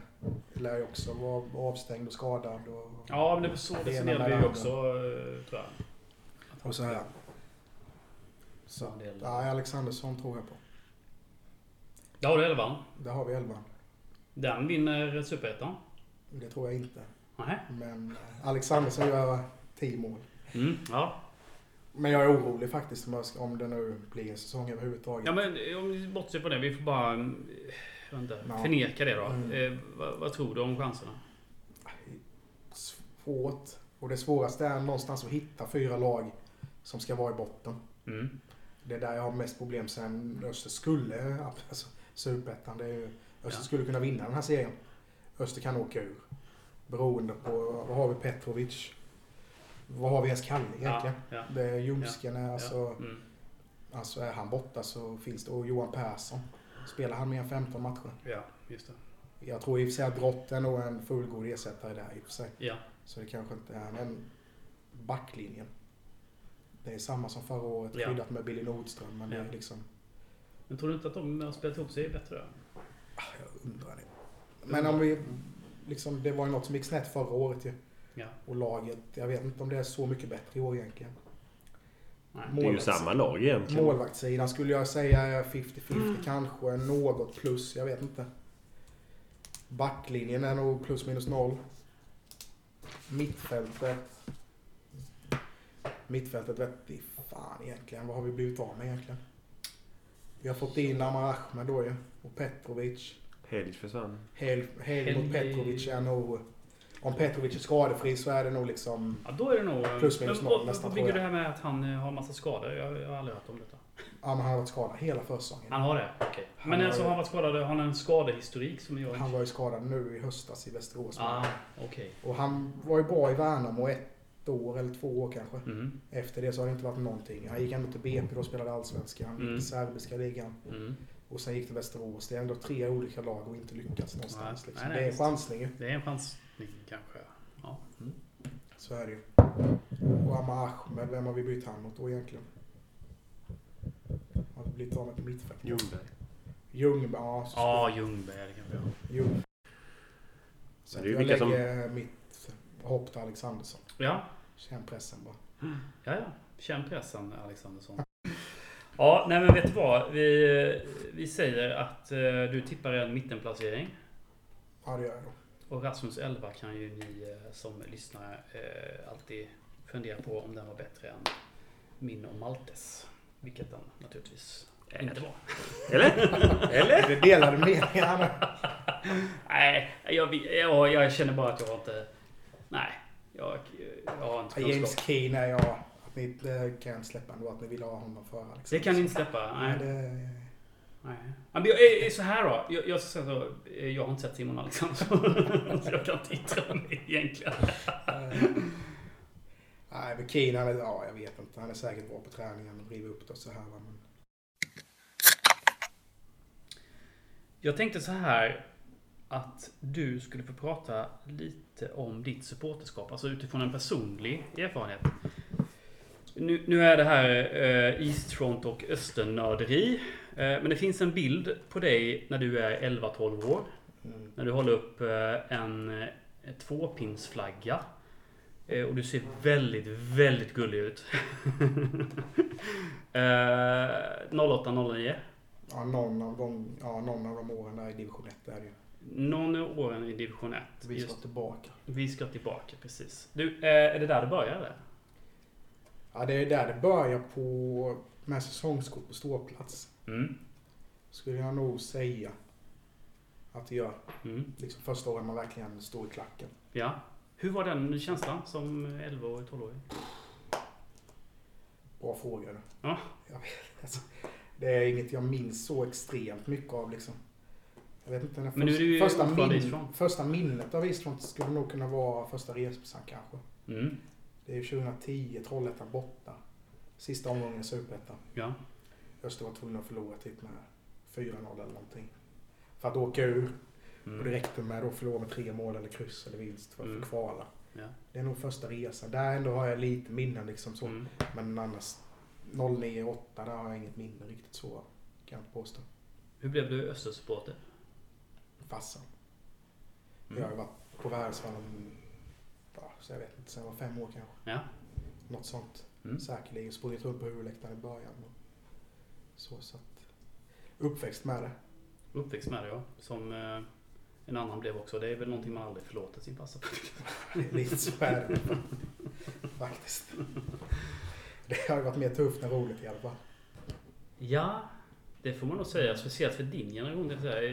Speaker 3: lär ju också vara avstängd och skadad. Och,
Speaker 1: Ja, men det så
Speaker 3: Det ena med
Speaker 1: resonerade vi
Speaker 3: det
Speaker 1: ju
Speaker 3: andra.
Speaker 1: också eh, tror jag.
Speaker 3: och så här. Så,
Speaker 1: Ja, det är-
Speaker 3: ja, Alexandersson tror jag på.
Speaker 1: Där har du elvan.
Speaker 3: Där har vi elvan.
Speaker 1: Den vinner Superettan.
Speaker 3: Det tror jag inte.
Speaker 1: Nej.
Speaker 3: Men eh, Alexandersson gör 10 mål.
Speaker 1: Mm, ja.
Speaker 3: Men jag är orolig faktiskt om jag ska- om det nu blir en säsong överhuvudtaget.
Speaker 1: ja, men eh, om vi bortser från det. Vi får bara eh, vänta,
Speaker 3: Ja.
Speaker 1: förneka det då.
Speaker 3: Mm.
Speaker 1: Eh, vad, vad tror du om chanserna?
Speaker 3: Svårt. Och det svåraste är någonstans att hitta fyra lag som ska vara i botten.
Speaker 1: Mm.
Speaker 3: Det är där jag har mest problem sen Öster skulle, alltså superettan. det är ju- Öster
Speaker 1: Ja.
Speaker 3: skulle kunna vinna den här serien. Öster kan åka ur. Beroende på, vad har vi Petrovic? Vad har vi ens Kalle egentligen?
Speaker 1: Ja, ja,
Speaker 3: Det är Ljumsken, är
Speaker 1: ja.
Speaker 3: alltså,
Speaker 1: Mm.
Speaker 3: alltså är han borta så finns det. Och Johan Persson. Spelar han mer än 15 matcher?
Speaker 1: ja, just det.
Speaker 3: Jag tror i och för sig att Brott är nog en fullgod ersättare där i och för sig.
Speaker 1: Ja.
Speaker 3: Så det kanske inte är, men backlinjen. Det är samma som förra året,
Speaker 1: Ja.
Speaker 3: skyddat med Billy Nordström. Men det
Speaker 1: Ja.
Speaker 3: är liksom,
Speaker 1: Men tror du inte att de har spelat ihop sig bättre? då?
Speaker 3: ah, jag undrar det. Men om vi, liksom, det var ju något som gick snett förra året ju.
Speaker 1: Ja.
Speaker 3: Och laget, jag vet inte om det är så mycket bättre i år egentligen.
Speaker 1: Nej.
Speaker 2: Det är ju
Speaker 3: Målvakts-
Speaker 2: samma lag egentligen.
Speaker 3: Målvaktssidan skulle jag säga är 50-50, kanske något plus, jag vet inte. Backlinjen är nog plus minus noll. Mittfältet. Mittfältet vet i fan egentligen. Vad har vi blivit av med egentligen? Vi har fått in Amar Ahmed då ju. Och Petrovic.
Speaker 2: Helg försvann.
Speaker 3: Helg Helg
Speaker 1: Helg-
Speaker 3: mot Petrovic är nog... Om Petrovic är skadefri så är det nog liksom...
Speaker 1: Ja, då är det nog... eh,
Speaker 3: Plus minus
Speaker 1: men
Speaker 3: noll
Speaker 1: vad-
Speaker 3: nästan,
Speaker 1: Vad
Speaker 3: tror
Speaker 1: bygger
Speaker 3: jag.
Speaker 1: det här med att han eh, har massa skador? Jag, jag har aldrig hört om detta.
Speaker 3: Ja men han har varit skadad hela försäsongen.
Speaker 1: Han har det? Okej.
Speaker 3: Han
Speaker 1: Men
Speaker 3: har-
Speaker 1: alltså, har han varit skadad? Har han en skadehistorik som jag
Speaker 3: Han var ju skadad nu i höstas i Västerås.
Speaker 1: Ah, okej.
Speaker 3: Och han var ju bra i Värnamo ett år eller två år kanske.
Speaker 1: Mm.
Speaker 3: Efter det så har det inte varit någonting. Han gick ändå till BP då och spelade allsvenskan,
Speaker 1: Mm.
Speaker 3: mm. serbiska ligan.
Speaker 1: Mm.
Speaker 3: Och sen gick till Västerås. Det är ändå tre olika lag och inte lyckats någonstans.
Speaker 1: Nej,
Speaker 3: Liksom.
Speaker 1: nej,
Speaker 3: det är
Speaker 1: visst.
Speaker 3: chansning ju.
Speaker 1: Det är en chansning kanske. Ja. Mm.
Speaker 3: Så är det ju. Och Amar Ahmed, vem har vi bytt han mot då egentligen? Har vi blivit av med på mittfält?
Speaker 2: Ljungberg.
Speaker 3: Ljungberg, ja. så
Speaker 1: Ja, Ljungberg det kanske jag.
Speaker 3: skulle- Ljung.
Speaker 2: Men det
Speaker 3: Så att
Speaker 2: är ju
Speaker 3: jag
Speaker 2: vilka som-
Speaker 3: lägger mitt hopp till Alexandersson.
Speaker 1: Ja,
Speaker 3: Känn pressen bara.
Speaker 1: ja, ja. Känn pressen Alexandersson. Ja, nej men vet du vad? Vi, eh, vi säger att eh, du tippar en mittenplacering.
Speaker 3: Ja, det gör jag då.
Speaker 1: Och Rasmus 11 kan ju ni eh, som lyssnar eh, alltid fundera på om den var bättre än min och Maltes. Vilket den naturligtvis inte var.
Speaker 2: Eller? Eller?
Speaker 3: Det är delade meningar. nu.
Speaker 1: Nej, jag, vet- jag, jag känner bara att jag inte... Nej, jag, jag har inte
Speaker 3: James
Speaker 1: kunskap.
Speaker 3: Keane är jag. Att ni inte kan släppa ändå att ni vill ha honom före Alexander.
Speaker 1: Det kan ni inte släppa. Nej.
Speaker 3: Men det,
Speaker 1: Nej. Ja, Men jag, är- är så här då. Jag, jag, ska säga så, eh, jag har inte sett Simon Alexandersson. så jag kan inte yttra mig egentligen.
Speaker 3: eh, nej, men Keane, han är, ja, jag vet inte. Han är säkert bra på träningen och driver upp det och så här. va, Men
Speaker 1: Jag tänkte så här. Att du skulle få prata lite om ditt supporterskap. Alltså utifrån en personlig erfarenhet. Nu, nu är det här eh, Eastfront och Östernörderi. Eh, men det finns en bild på dig när du är 11-12 år.
Speaker 3: mm,
Speaker 1: När du håller upp eh, en eh, tvåpinsflagga. Eh, Och du ser väldigt, väldigt gullig ut. Eh, 08-09.
Speaker 3: ja, någon, av de, ja, någon av de åren där i division 1 är det ju.
Speaker 1: Någon av åren i division 1.
Speaker 3: Vi ska
Speaker 1: Just,
Speaker 3: tillbaka.
Speaker 1: vi ska tillbaka, precis. Du, eh, är det där det började?
Speaker 3: Ja, det är där det börjar på med säsongskort på ståplats.
Speaker 1: Mm.
Speaker 3: Skulle jag nog säga. att det gör.
Speaker 1: Mm.
Speaker 3: Liksom första året man verkligen står i klacken.
Speaker 1: Ja. Hur var den känslan som 11 och 12-åring?
Speaker 3: Bra frågor.
Speaker 1: Ja.
Speaker 3: Jag vet, alltså, det är inget jag minns så extremt mycket av liksom. Jag vet inte, den
Speaker 1: Men nu är
Speaker 3: först-
Speaker 1: du ju
Speaker 3: första,
Speaker 1: ordförande i
Speaker 3: min,
Speaker 1: Eastfront.
Speaker 3: första minnet av Eastfront skulle nog kunna vara första resan kanske.
Speaker 1: Mm.
Speaker 3: Det är ju 2010, Trollhättan borta. Sista omgången i Superettan.
Speaker 1: Ja.
Speaker 3: Öster var tvungna att förlora typ med 4-0 eller någonting. För att åka ur. Och det
Speaker 1: Mm.
Speaker 3: räckte med att förlora med tre mål eller kryss eller vinst för att
Speaker 1: Mm.
Speaker 3: få kvala.
Speaker 1: Ja.
Speaker 3: Det är nog första resan. Där ändå har jag lite minnen liksom så.
Speaker 1: Mm.
Speaker 3: Men annars 098 där har jag inget minne riktigt så. Kan jag inte påstå.
Speaker 1: Hur blev du Östersupporter?
Speaker 3: Farsan. Jag har
Speaker 1: Mm.
Speaker 3: varit på Världsvallen, ja, så jag vet inte, sen jag var fem år kanske.
Speaker 1: Ja.
Speaker 3: Något sånt.
Speaker 1: Mm.
Speaker 3: Säkerligen sprungit runt på huvudläktaren i början. Och så, så att, uppväxt med det.
Speaker 1: Uppväxt med det ja. Som eh, en annan blev också. Det är väl någonting man aldrig förlåter sin farsa för.
Speaker 3: Lite så är det. Faktiskt. Det har ju varit mer tufft än roligt i alla fall.
Speaker 1: Ja, det får man nog säga. Speciellt för din generation. Det vill säga,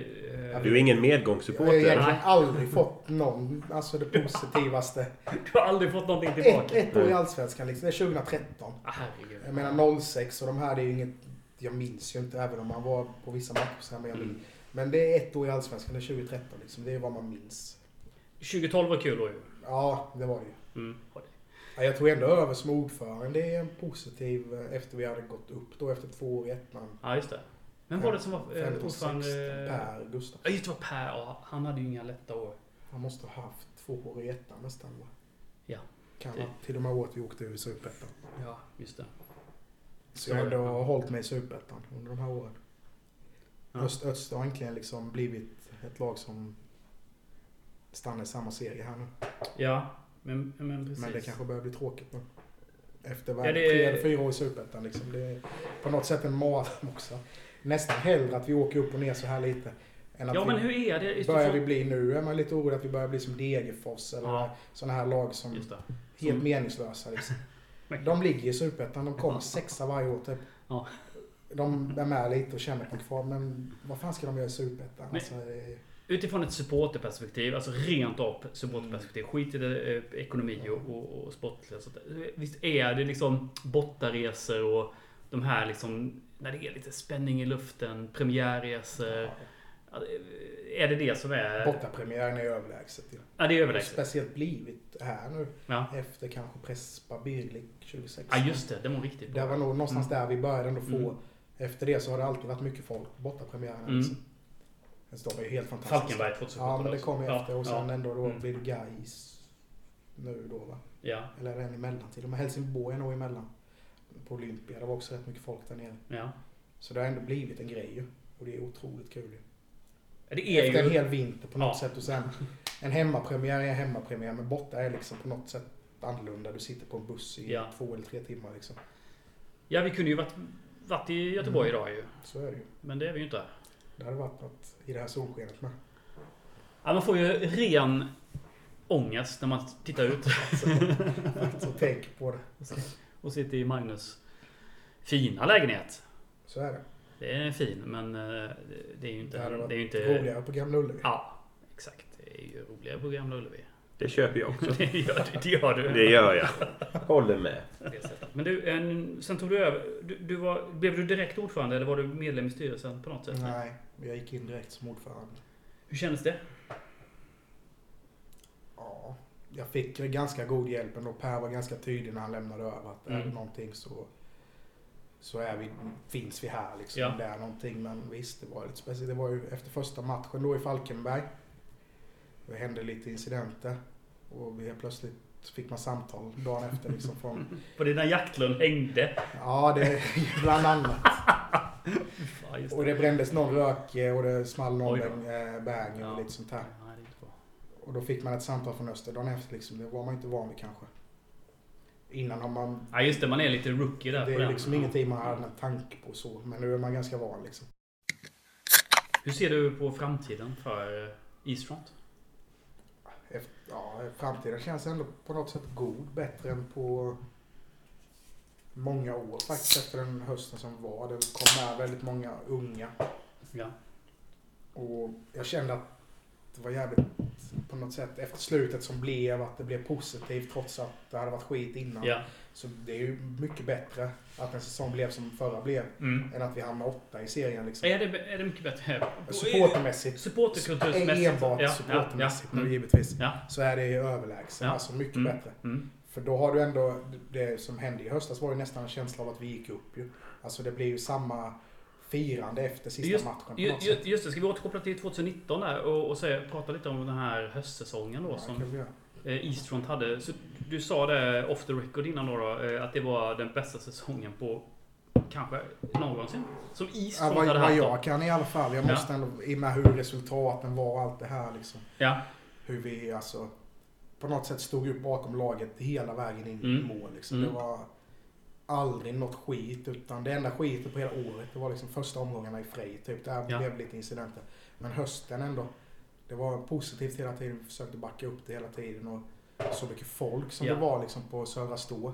Speaker 1: eh,
Speaker 2: Du är ingen
Speaker 3: Jag har ju
Speaker 2: medgångssupporter.
Speaker 1: Nej.
Speaker 3: egentligen aldrig fått någon, alltså det positivaste.
Speaker 1: du har aldrig fått någonting
Speaker 3: Ett,
Speaker 1: tillbaka.
Speaker 3: ett år i Allsvenskan liksom, det är 2013.
Speaker 1: Ah, herregud.
Speaker 3: Jag menar 06 och de här det är ju inget, jag minns ju inte även om man var på vissa matcher. så här, Men, jag minns.
Speaker 1: Mm.
Speaker 3: men det är ett år i Allsvenskan, det är 2013 liksom. Det är vad man minns.
Speaker 1: 2012 var kul då ju.
Speaker 3: Ja, det var det ju.
Speaker 1: Mm. var det.
Speaker 3: Ja, Jag tog ändå över som ordförande. Det är en positiv eh, efter vi hade gått upp då efter två år i ettan.
Speaker 1: Ja, just det. Vem var det som var eh,
Speaker 3: 15, 16,
Speaker 1: ordförande?
Speaker 3: Per Gustafsson.
Speaker 1: Ja, just det var Per. Ja, han hade ju inga lätta år.
Speaker 3: Han måste ha haft två år i ettan nästan va?
Speaker 1: Ja.
Speaker 3: Kan
Speaker 1: Det-
Speaker 3: vara till och med året vi åkte ur Superettan.
Speaker 1: Ja, just det.
Speaker 3: Så jag har
Speaker 1: Så är det.
Speaker 3: ändå hållit mig i Superettan under de här åren.
Speaker 1: Ja.
Speaker 3: Öst, Öst har egentligen liksom blivit ett lag som stannar i samma serie här nu.
Speaker 1: Ja, men, men precis.
Speaker 3: Men det kanske börjar bli tråkigt nu. Efter vad,
Speaker 1: Ja, det-
Speaker 3: tre eller fyra år i Superettan liksom. Det är på något sätt en mardröm också. Nästan hellre att vi åker upp och ner så här lite. Än att
Speaker 1: Ja,
Speaker 3: vi
Speaker 1: men hur är det? Just det,
Speaker 3: börjar
Speaker 1: för-
Speaker 3: vi bli nu är man lite orolig att vi börjar bli som Degerfors eller
Speaker 1: Ja.
Speaker 3: sådana här lag som
Speaker 1: Just det.
Speaker 3: helt
Speaker 1: Som-
Speaker 3: meningslösa. Liksom. De ligger i Superettan, de kommer sexa varje år typ.
Speaker 1: Ja.
Speaker 3: De är med lite och känner på kvar, men vad fan ska de göra i Superettan?
Speaker 1: Men-
Speaker 3: Alltså, det är-
Speaker 1: Utifrån ett supporterperspektiv, alltså rent av supporterperspektiv, skit i det, eh, ekonomi och, och, och sportliga. sånt där. Visst är det liksom bortaresor och de här liksom, när det är lite spänning i luften, premiärresor. Är det det som är...
Speaker 3: Bortapremiären är överlägset. Ja.
Speaker 1: Ja, det är
Speaker 3: Och
Speaker 1: överlägset.
Speaker 3: Speciellt blivit här nu
Speaker 1: Ja.
Speaker 3: efter kanske Prespa Birlik 2016.
Speaker 1: ja, just det. Den var riktigt
Speaker 3: Det var
Speaker 1: bra.
Speaker 3: nog någonstans där vi började ändå få.
Speaker 1: Mm.
Speaker 3: Efter det så har det alltid varit mycket folk på bortapremiärerna.
Speaker 1: Mm.
Speaker 3: Liksom. Så de är ju helt fantastiska.
Speaker 1: Falkenberg 2017.
Speaker 3: Ja, men det kom ju
Speaker 1: också.
Speaker 3: efter och sen
Speaker 1: ja,
Speaker 3: ändå då
Speaker 1: Mm.
Speaker 3: blir det Gais nu då va?
Speaker 1: ja,
Speaker 3: Eller en emellan till och med. Helsingborg är nog emellan. På Olympia, det var också rätt mycket folk där nere.
Speaker 1: ja.
Speaker 3: Så det har ändå blivit en grej ju. Och det är otroligt kul ju.
Speaker 1: Det är
Speaker 3: Efter en
Speaker 1: ju...
Speaker 3: hel vinter på något
Speaker 1: Ja.
Speaker 3: sätt och sen en hemmapremiär är en hemmapremiär men borta är liksom på något sätt annorlunda. Du sitter på en buss i
Speaker 1: Ja.
Speaker 3: två eller tre timmar liksom.
Speaker 1: Ja, vi kunde ju varit, varit i Göteborg
Speaker 3: Mm.
Speaker 1: idag ju.
Speaker 3: Så är det ju.
Speaker 1: Men det är vi ju inte.
Speaker 3: Det hade varit något i det här solskenet med.
Speaker 1: Ja, man får ju ren ångest när man tittar ut
Speaker 3: Så Alltså, tänk på det.
Speaker 1: och sitter i Magnus fina lägenhet.
Speaker 3: Så är det.
Speaker 1: Det är fin, men eh, det är ju inte...
Speaker 3: Det hade varit
Speaker 1: Det är ju inte
Speaker 3: roligare på Gamla Ullevi.
Speaker 1: ja, exakt. Det är ju roligare på Gamla Ullevi.
Speaker 2: Det köper jag också.
Speaker 1: Det gör, det gör du.
Speaker 2: Det gör jag. Håller med.
Speaker 1: På det sättet. Men du, en, sen tog du över. Du, du var, blev du direkt ordförande eller var du medlem i styrelsen på något sätt?
Speaker 3: Nej, jag gick in direkt som ordförande.
Speaker 1: Hur kändes det?
Speaker 3: Ja, jag fick ju ganska god hjälp ändå. Per var ganska tydlig när han lämnade över att är
Speaker 1: Mm.
Speaker 3: det någonting så, så är vi, finns vi här liksom.
Speaker 1: Ja.
Speaker 3: Det är någonting, men visst det var lite speciellt. Det var ju efter första matchen då i Falkenberg. Det hände lite incidenter och vi helt plötsligt fick man samtal dagen efter liksom från,
Speaker 1: På dina jaktlund hängde.
Speaker 3: ja det är bland annat.
Speaker 1: Ja, just
Speaker 3: Och det brändes någon rök eh, och det small någon
Speaker 1: Oj då.
Speaker 3: bäng- eh, bäng och
Speaker 1: Ja.
Speaker 3: lite sånt här.
Speaker 1: Nej, det är inte bra.
Speaker 3: Och då fick man ett samtal från Öster dagen efter liksom. Det var man inte van vid kanske. Innan har man...
Speaker 1: Ja, just det. Man är lite rookie där.
Speaker 3: Det
Speaker 1: på
Speaker 3: är
Speaker 1: den. Mm.
Speaker 3: liksom ingenting man hade en tanke på så. Men nu är man ganska van liksom.
Speaker 1: Hur ser du på framtiden för eh, Eastfront?
Speaker 3: Efter, ja, framtiden känns ändå på något sätt god. Bättre än på många år faktiskt. Efter den hösten som var. Det kom med väldigt många unga.
Speaker 1: Ja.
Speaker 3: Och jag kände att det var jävligt på något sätt efter slutet som blev att det blev positivt trots att det hade varit skit innan.
Speaker 1: Ja.
Speaker 3: Så det är ju mycket bättre att en säsong blev som förra blev
Speaker 1: Mm.
Speaker 3: än att vi hamnar åtta i serien liksom.
Speaker 1: Är, det, är det mycket bättre?
Speaker 3: Supportermässigt.
Speaker 1: Supporterkulturmässigt.
Speaker 3: Enbart
Speaker 1: Ja, ja,
Speaker 3: supportermässigt
Speaker 1: ja,
Speaker 3: då,
Speaker 1: mm.
Speaker 3: givetvis.
Speaker 1: Ja.
Speaker 3: Så är det ju överlägset.
Speaker 1: Ja.
Speaker 3: Alltså mycket
Speaker 1: Mm.
Speaker 3: bättre.
Speaker 1: Mm.
Speaker 3: För då har du ändå, det som hände i höstas var ju nästan en känsla av att vi gick upp ju. Alltså det blir ju samma firande efter sista
Speaker 1: Just-
Speaker 3: matchen på
Speaker 1: Ju-
Speaker 3: något
Speaker 1: ju-
Speaker 3: sätt.
Speaker 1: Just det, ska vi återkoppla till 2019 där och, och säga, prata lite om den här höstsäsongen då
Speaker 3: Ja,
Speaker 1: som
Speaker 3: kul, ja.
Speaker 1: eh, Eastfront hade. Så du sa det off the record innan då, då eh, att det var den bästa säsongen på kanske någonsin. Som
Speaker 3: Ja,
Speaker 1: Eastfront
Speaker 3: vad,
Speaker 1: hade
Speaker 3: vad
Speaker 1: haft. då.
Speaker 3: jag kan i alla fall. Jag
Speaker 1: Ja.
Speaker 3: måste ändå, i och med hur resultaten var och allt det här liksom.
Speaker 1: Ja.
Speaker 3: Hur vi alltså på något sätt stod upp bakom laget hela vägen in i
Speaker 1: Mm.
Speaker 3: mål liksom.
Speaker 1: Mm.
Speaker 3: Det var aldrig något skit utan det enda skitet på hela året det var liksom första omgångarna i Frej. Typ. Där
Speaker 1: Ja.
Speaker 3: blev lite incidenter. Men hösten ändå. Det var positivt hela tiden. Vi försökte backa upp det hela tiden. Och så mycket folk som
Speaker 1: Ja.
Speaker 3: det var liksom på Södra Stå.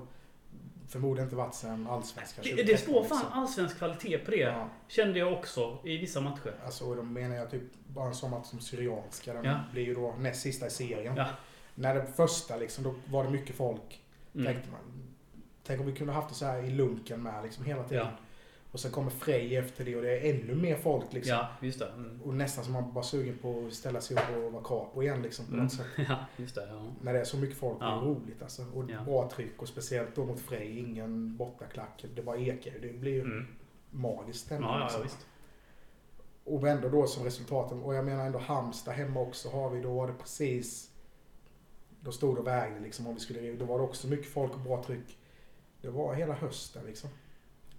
Speaker 3: Förmodligen inte varit sen allsvenskan
Speaker 1: Det, det
Speaker 3: 2013,
Speaker 1: står
Speaker 3: liksom.
Speaker 1: fan allsvensk kvalitet på det.
Speaker 3: Ja.
Speaker 1: Kände jag också i vissa matcher.
Speaker 3: Alltså, och då menar jag typ bara en sån match som Syrianska. Den
Speaker 1: Ja.
Speaker 3: blir ju då näst sista i serien.
Speaker 1: Ja.
Speaker 3: När den första liksom, då var det mycket folk.
Speaker 1: Mm.
Speaker 3: Tänkte man. Tänk om vi kunde haft det så här i lunken med liksom hela tiden.
Speaker 1: Ja.
Speaker 3: Och sen kommer Frej efter det och det är ännu mer folk liksom.
Speaker 1: Ja, just det. Mm.
Speaker 3: Och nästan som man bara är sugen på att ställa sig upp och vara capo igen liksom på
Speaker 1: Mm.
Speaker 3: något sätt.
Speaker 1: Ja, just det. Ja.
Speaker 3: När det är så mycket folk, det
Speaker 1: Ja.
Speaker 3: är roligt alltså. Och
Speaker 1: Ja.
Speaker 3: bra tryck och speciellt då mot Frej, ingen bortaklack. Det bara ekar ju. Det blir ju
Speaker 1: Mm.
Speaker 3: magiskt ändå
Speaker 1: Ja, ja,
Speaker 3: liksom.
Speaker 1: ja, visst.
Speaker 3: Och ändå då som resultaten. Och jag menar ändå Halmstad hemma också har vi. Då var det precis... Då stod det och vägde liksom om vi skulle... Då var det också mycket folk och bra tryck. Det var hela hösten liksom.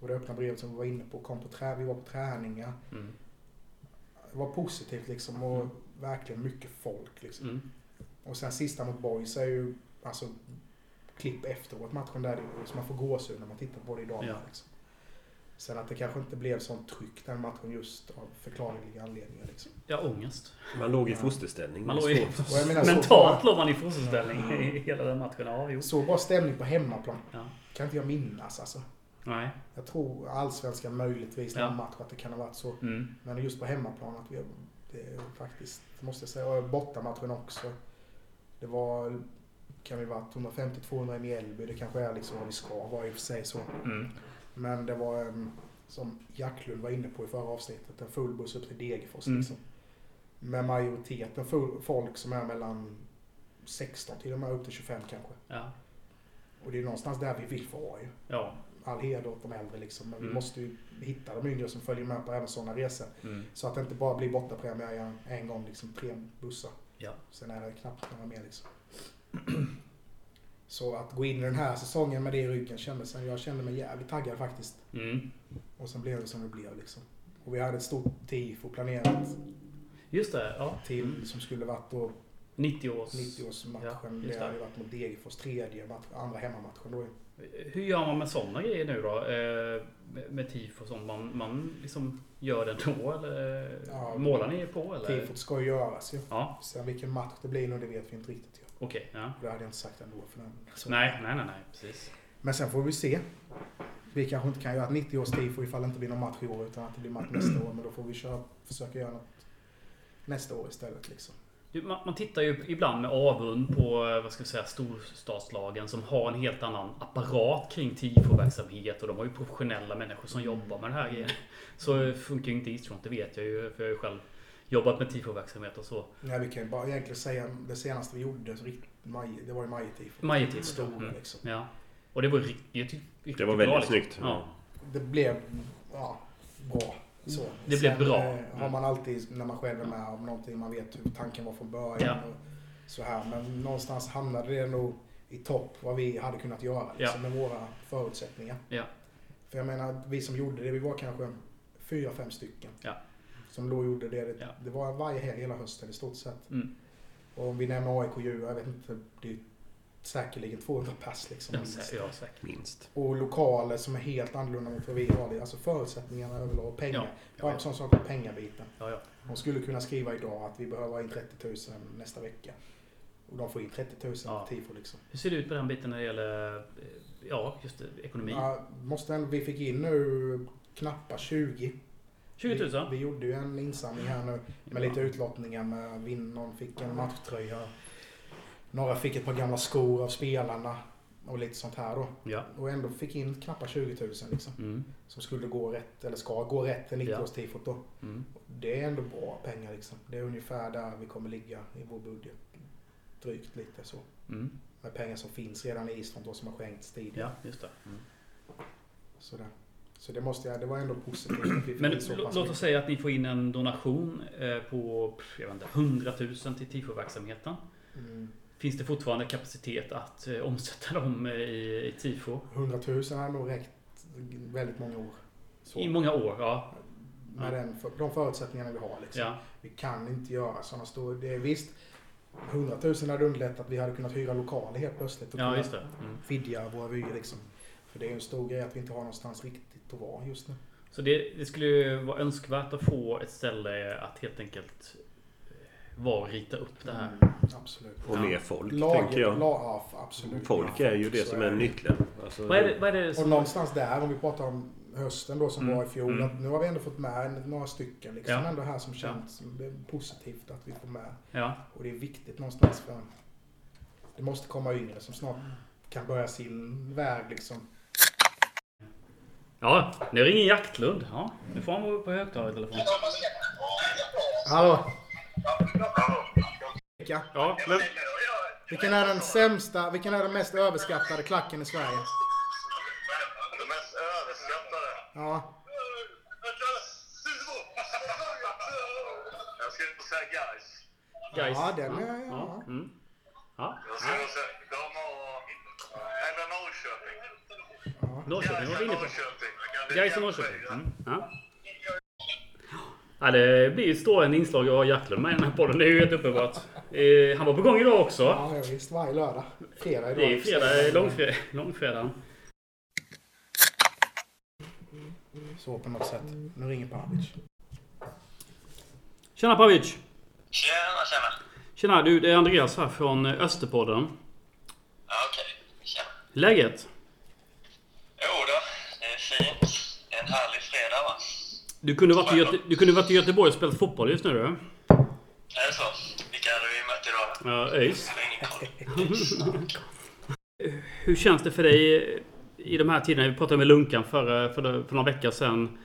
Speaker 3: Och det öppna brevet som vi var inne på kom på trä, vi var på träningar.
Speaker 1: Mm.
Speaker 3: Det var positivt liksom och
Speaker 1: Mm.
Speaker 3: verkligen mycket folk liksom.
Speaker 1: Mm.
Speaker 3: Och sen sista mot Boys är ju alltså klipp efteråt matchen där. det- Så man får gåshud när man tittar på det idag.
Speaker 1: Ja.
Speaker 3: Liksom. Sen att det kanske inte blev sånt tryck den matchen just av förklarliga anledningar liksom.
Speaker 1: Ja, ångest.
Speaker 2: Man låg i
Speaker 3: Ja.
Speaker 2: fosterställning.
Speaker 1: Man
Speaker 2: Det är
Speaker 1: låg i,
Speaker 2: svårt.
Speaker 3: Och jag menar, så-
Speaker 1: mentalt låg man i fosterställning i hela den matchen. Ja, jo.
Speaker 3: Så bra stämning på hemmaplan
Speaker 1: Ja.
Speaker 3: kan inte jag minnas alltså.
Speaker 1: Nej.
Speaker 3: Jag tror allsvenskan möjligtvis
Speaker 1: Ja.
Speaker 3: någon match att det kan ha varit så.
Speaker 1: Mm.
Speaker 3: Men just på hemmaplan att vi det är faktiskt, måste jag säga, och bortamatchen också. Det var, kan vi vara 150-200 i Mjällby. Det kanske är liksom vad vi ska vara i och för sig så.
Speaker 1: Mm.
Speaker 3: Men det var, em, som Jacklund var inne på i förra avsnittet, en full buss upp till Degerfors
Speaker 1: Mm.
Speaker 3: liksom. Med majoriteten full, folk som är mellan 16 till och med upp till 25 kanske.
Speaker 1: Ja.
Speaker 3: Och det är någonstans där vi vill vara ju.
Speaker 1: Ja.
Speaker 3: All heder åt de äldre liksom. Men vi
Speaker 1: Mm. måste
Speaker 3: måste ju hitta de yngre som följer med på även sådana resor.
Speaker 1: Mm.
Speaker 3: Så att det inte bara blir bortapremiär en, en gång, liksom tre bussar.
Speaker 1: Ja.
Speaker 3: Sen är det knappt några mer liksom. Så att gå in i den här säsongen med det i ryggen kändes, jag kände mig jävligt taggad faktiskt.
Speaker 1: Mm.
Speaker 3: Och sen blev det som det blev liksom. Och vi hade ett stort tifo planerat
Speaker 1: Just det. Ja.
Speaker 3: till som skulle varit då
Speaker 1: 90 års...
Speaker 3: 90-årsmatchen.
Speaker 1: Mm. Ja, just
Speaker 3: det hade
Speaker 1: det.
Speaker 3: ju varit mot Degerfors tredje match, andra hemmamatchen då ju.
Speaker 1: Hur gör man med sådana grejer nu då? Eh, med- Med tifo och sånt. Man, man liksom gör det då eller?
Speaker 3: Ja.
Speaker 1: Målar ni på eller?
Speaker 3: Tifot ska ju göras ju.
Speaker 1: Ja,
Speaker 3: Sen vilken match det blir nu, det vet vi inte riktigt. ju.
Speaker 1: okej. Ja.
Speaker 3: Och Det hade jag inte sagt ändå. För den. Så.
Speaker 1: Nej, nej, nej, nej, precis.
Speaker 3: Men sen får vi se. Vi kanske inte kan göra ett 90-årstifo ifall det inte blir någon match i år utan att det blir match nästa år. Men då får vi köra, försöka göra något nästa år istället. Liksom.
Speaker 1: Du, Man, man tittar ju ibland med avund på eh, vad ska vi säga, storstadslagen som har en helt annan apparat kring tifoverksamhet och de har ju professionella människor som jobbar med det här grejen. Så eh, funkar ju inte Eastfront, det vet jag ju för jag har ju själv jobbat med tifoverksamhet och så.
Speaker 3: Nej, vi kan ju bara egentligen säga det senaste vi gjorde, så rikt- maj, det var ju majetifot.
Speaker 1: Majetifot,
Speaker 3: Stora
Speaker 1: mm.
Speaker 3: liksom.
Speaker 1: Ja. Och det var riktigt, jag tyckte
Speaker 2: Det
Speaker 1: riktigt
Speaker 2: var
Speaker 1: bra,
Speaker 2: väldigt
Speaker 1: liksom.
Speaker 2: snyggt.
Speaker 1: Ja.
Speaker 3: Det blev ja, bra. Så.
Speaker 1: Det blev
Speaker 3: Sen,
Speaker 1: bra. Mm.
Speaker 3: eh, Har man alltid, när man själv är med om någonting, man vet hur tanken var från början.
Speaker 1: Ja.
Speaker 3: Och så här. Men någonstans hamnade det nog i topp vad vi hade kunnat göra liksom, med våra förutsättningar.
Speaker 1: Ja.
Speaker 3: För jag menar, vi som gjorde det, vi var kanske fyra, fem stycken.
Speaker 1: Ja.
Speaker 3: Som då gjorde det. Det,
Speaker 1: Ja.
Speaker 3: det var varje helg hela hösten i stort sett.
Speaker 1: Mm.
Speaker 3: Och om vi nämner AIK Djur, jag vet inte, det är säkerligen 200 pass liksom.
Speaker 1: Ja, sä- ja, säkert.
Speaker 2: Minst.
Speaker 3: Och lokaler som är helt annorlunda mot vad vi har. Det är Alltså förutsättningarna överlag och pengar.
Speaker 1: Ja,
Speaker 3: Bara en sån sak som pengabiten.
Speaker 1: Ja, ja.
Speaker 3: De skulle kunna skriva idag att vi behöver ha in 30 000 nästa vecka. Och de får in 30 000
Speaker 1: Ja.
Speaker 3: på tifo liksom.
Speaker 1: Hur ser det ut på den biten när det gäller eh, ja, just det, ekonomi?
Speaker 3: Ja, måste ändå, vi fick in nu knappa 20
Speaker 1: 20 000?
Speaker 3: Vi, vi gjorde ju en insamling här nu med lite utlottningar. Med vinn, någon fick en matchtröja. Några fick ett par gamla skor av spelarna. Och lite sånt här då.
Speaker 1: Ja.
Speaker 3: Och ändå fick in knappt 20 000 liksom.
Speaker 1: Mm.
Speaker 3: Som skulle gå rätt, eller ska gå rätt till 90-årstifot då.
Speaker 1: Mm.
Speaker 3: Det är ändå bra pengar liksom. Det är ungefär där vi kommer ligga i vår budget. Drygt lite så.
Speaker 1: Mm.
Speaker 3: Med pengar som finns redan i Island då som har skänkts tidigare.
Speaker 1: Ja, just det. Mm.
Speaker 3: Sådär. Så det måste jag, det var ändå positivt att vi fick
Speaker 1: Men
Speaker 3: in så
Speaker 1: lå-
Speaker 3: pass
Speaker 1: låt
Speaker 3: mycket.
Speaker 1: oss säga att ni får in en donation eh, på pff, jag vet inte, 100 000 till TIFO-verksamheten.
Speaker 3: Mm.
Speaker 1: Finns det fortfarande kapacitet att eh, omsätta dem eh, i, i TIFO?
Speaker 3: 100 000 har nog räckt väldigt många år. Så.
Speaker 1: I många år, ja.
Speaker 3: Med den, för- de förutsättningarna vi har liksom.
Speaker 1: ja.
Speaker 3: Vi kan inte göra sådana stora... Det är visst, 100 000 hade underlättat. Vi hade kunnat hyra lokaler helt plötsligt. Och
Speaker 1: Ja,
Speaker 3: kunnat
Speaker 1: just det. Mm.
Speaker 3: vidga våra vyer liksom. För det är ju en stor grej att vi inte har någonstans riktigt att vara just nu.
Speaker 1: Så det, det skulle ju vara önskvärt att få ett ställe att helt enkelt eh, vara och rita upp det här.
Speaker 3: Mm, absolut.
Speaker 2: Och
Speaker 1: Ja.
Speaker 2: mer folk,
Speaker 3: Lag,
Speaker 2: tänker jag.
Speaker 3: la- ja, f- absolut.
Speaker 2: Folk
Speaker 3: Ja,
Speaker 2: är ju det
Speaker 3: så
Speaker 2: som
Speaker 3: är
Speaker 2: är
Speaker 3: det.
Speaker 2: nyckeln. Alltså,
Speaker 1: Vad är det, vad är det
Speaker 3: Och
Speaker 1: som...
Speaker 3: någonstans där, om vi pratar om hösten då som
Speaker 1: Mm,
Speaker 3: var i fjol.
Speaker 1: mm.
Speaker 3: Att nu har vi ändå fått med några stycken liksom
Speaker 1: Ja.
Speaker 3: ändå här som
Speaker 1: Ja.
Speaker 3: känns som det är positivt att vi får med.
Speaker 1: Ja.
Speaker 3: Och det är viktigt någonstans för det måste komma yngre som snart kan börja sin väg liksom.
Speaker 1: ja, nu ringer Jaktlund. Ja, nu får han vara på högtalartelefon.
Speaker 3: Hallå! Vilka?
Speaker 1: Ja, men...
Speaker 3: Vilken är den sämsta, vilken är den mest överskattade klacken i Sverige?
Speaker 4: De mest överskattade.
Speaker 3: Ja.
Speaker 4: Jag skulle nog säga guys.
Speaker 1: Guys.
Speaker 3: Ja, den är-
Speaker 1: ja.
Speaker 3: ja.
Speaker 1: Mm. ja.
Speaker 4: Jag skulle nog säga de och... Eller Norrköping.
Speaker 1: Norrköping var vi inne på.
Speaker 4: Norrköping. Det är
Speaker 1: Gais och
Speaker 4: jämnt
Speaker 1: Norrköping.
Speaker 4: skit.
Speaker 1: Mm. Ja. Ja, det blir ju ett stående inslag av Jacklund med i den här podden. Det är ju helt uppenbart. Eh, han var på gång idag också.
Speaker 3: Ja, ja visst. Varje lördag. Fredag idag.
Speaker 1: Det är ju fredag, eh, långfredag, långfredagen.
Speaker 3: Så på något sätt. Nu ringer Pavic.
Speaker 1: Tjena Pavic!
Speaker 4: Tjena, tjena.
Speaker 1: Tjena du, det är Andreas här från eh, Österpodden.
Speaker 4: Ja, okej. Tjena.
Speaker 1: Läget?
Speaker 4: Jo då, det är fint. En härlig fredag va?
Speaker 1: Du kunde varit i, Göte- du kunde varit i Göteborg och spelat fotboll just nu du.
Speaker 4: Är det så? Vilka hade vi mött idag?
Speaker 1: Ja, ÖIS.
Speaker 4: Jag har ingen koll.
Speaker 1: Hur känns det för dig eh, i de här tiderna? Vi pratade med Lunkan för, för, för några veckor sedan.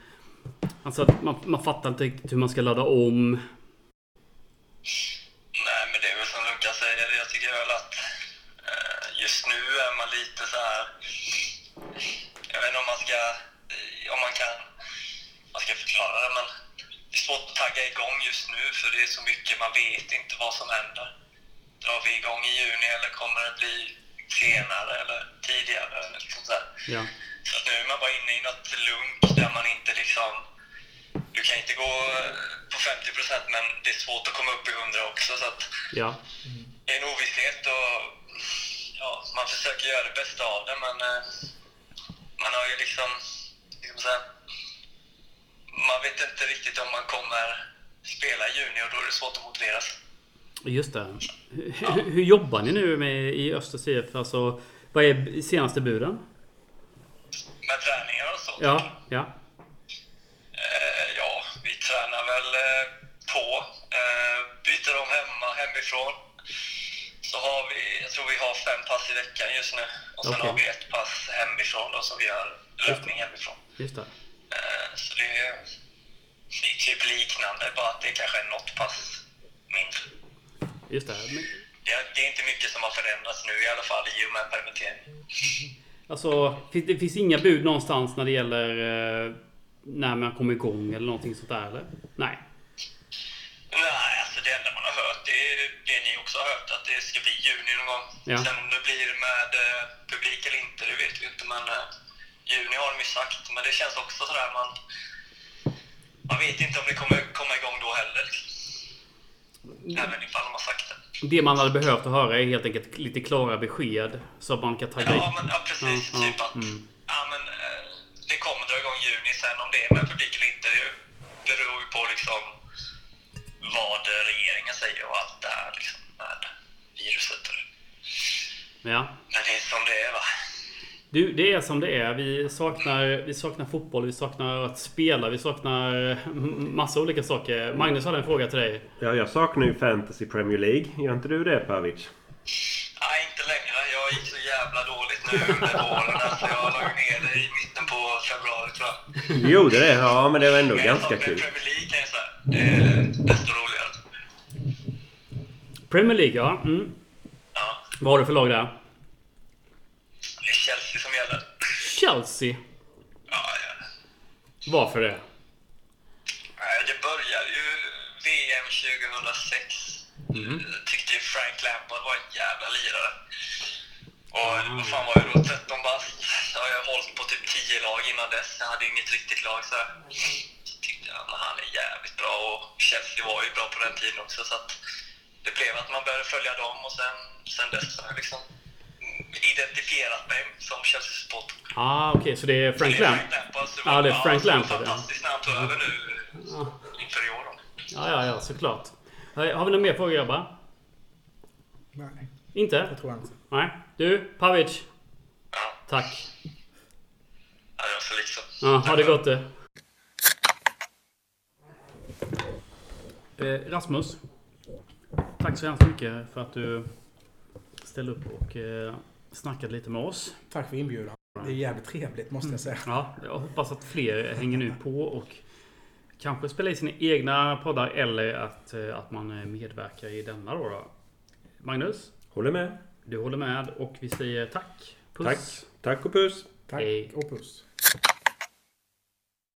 Speaker 1: Alltså att man, man fattar inte riktigt hur man ska ladda om.
Speaker 4: Nej, men det är väl som Lukas säger. Jag tycker väl att eh, just nu är man lite så här... Jag vet inte om man ska... eh, Om man kan... Man ska förklara det, men det är svårt att tagga igång just nu för det är så mycket. Man vet inte vad som händer. Drar vi igång i juni eller kommer det bli senare eller tidigare? Eller liksom så här.
Speaker 1: Ja.
Speaker 4: Så att nu är man bara inne i något lunk där man inte liksom... Du kan inte gå eh, på 50 procent men det är svårt att komma upp i 100 också. Så att
Speaker 1: Ja.
Speaker 4: det är en ovisshet och ja, man försöker göra det bästa av det men eh, man har ju liksom... liksom så här, man vet inte riktigt om man kommer spela i juni och då är det svårt att motivera sig.
Speaker 1: Just det. Hur, hur jobbar ni nu med, i Östers IF? Alltså, vad är senaste buden?
Speaker 4: Med träningar och sånt.
Speaker 1: Ja, ja.
Speaker 4: Eh, ja, vi tränar väl eh, på. Eh, byter om hemma, hemifrån. Så har vi, jag tror vi har fem pass i veckan just nu. Och sen
Speaker 1: Okej.
Speaker 4: har vi ett pass hemifrån då, som vi gör löpning hemifrån.
Speaker 1: Just det.
Speaker 4: Eh, så det är, det är typ liknande, bara att det kanske är något pass mindre.
Speaker 1: Just det. Men,
Speaker 4: Det är, det är inte mycket som har förändrats nu i alla fall i och med permitteringen.
Speaker 1: alltså, finns- det finns inga bud någonstans när det gäller eh, när man kommer igång eller någonting sånt där eller? Nej.
Speaker 4: Nej, alltså det enda man har hört det är det ni också har hört, att det ska bli juni någon gång.
Speaker 1: Ja.
Speaker 4: Sen om det blir med eh, publik eller inte, det vet vi inte. Men eh, juni har de ju sagt. Men det känns också sådär, man, man vet inte om det kommer komma igång då heller. liksom. Även ifall de har sagt det.
Speaker 1: Det man hade behövt att höra är helt enkelt lite klara besked så att man kan tagga
Speaker 4: Ja,
Speaker 1: i.
Speaker 4: men ja, precis.
Speaker 1: Ja, ja,
Speaker 4: typ att
Speaker 1: mm.
Speaker 4: ja, men, eh, det kommer dra igång i juni. Sen om det är med publik eller inte, det beror ju på liksom, vad eh, regeringen säger och allt det här liksom, med viruset. och det.
Speaker 1: Ja.
Speaker 4: Men det är som det är va.
Speaker 1: Du, det är som det är. Vi saknar, vi saknar fotboll, vi saknar att spela, vi saknar massa olika saker. Magnus hade en fråga till dig.
Speaker 2: Ja, jag saknar ju Fantasy Premier League. Gör inte du det Pavic?
Speaker 4: Nej, inte längre. Jag gick så jävla dåligt nu under våren. Alltså, jag la ju ner det i mitten på februari tror jag.
Speaker 2: Jo, det är Ja, men det var ändå
Speaker 4: Men jag
Speaker 2: ganska
Speaker 4: saknar
Speaker 2: kul.
Speaker 4: Premier League kan jag säga. Det är desto roligare.
Speaker 1: Premier League, ja. Mm.
Speaker 4: Ja,
Speaker 1: Vad har du för lag där?
Speaker 4: det är Chelsea som gäller.
Speaker 1: Chelsea.
Speaker 4: Ja, ja.
Speaker 1: Varför det?
Speaker 4: Nej, Det började ju VM 2006. Eh, Tyckte ju Frank Lampard var en jävla lirare. Och vad fan var jag då? 13 bast. Så har jag hållit på typ 10 lag innan dess. Jag hade inget riktigt lag så här. Så tyckte jag att han är jävligt bra och Chelsea var ju bra på den tiden också så att det blev att man började följa dem och sen, sen dess har jag liksom identifierat mig som Chelsea-supporter.
Speaker 1: Ah, okej, så det är Frank Lamp. Ja, det är Frank Lampard, ja.
Speaker 4: Fantastiskt när han tog över nu inför i år. då.
Speaker 1: Ja, ja, ja, såklart. Eh, Har vi några mer frågor grabbar?
Speaker 3: Nej,
Speaker 1: Inte?
Speaker 3: jag tror inte.
Speaker 1: Nej. Du, Pavic.
Speaker 4: Ja,
Speaker 1: Tack.
Speaker 4: ja,
Speaker 1: alltså
Speaker 4: jag så liksom.
Speaker 1: Ja, ha det gott du. Eh, Rasmus. Tack så hemskt mycket för att du ställde upp och eh, snackade lite med oss.
Speaker 3: Tack för inbjudan. Det är jävligt trevligt måste jag säga.
Speaker 1: Ja, jag hoppas att fler hänger nu på och kanske spelar i sina egna poddar eller att, eh, att man eh, medverkar i denna då. då. Magnus,
Speaker 2: Håller med.
Speaker 1: du håller med och vi säger tack. Puss.
Speaker 2: Tack. Tack och puss.
Speaker 3: Tack
Speaker 1: Hej.
Speaker 3: och puss.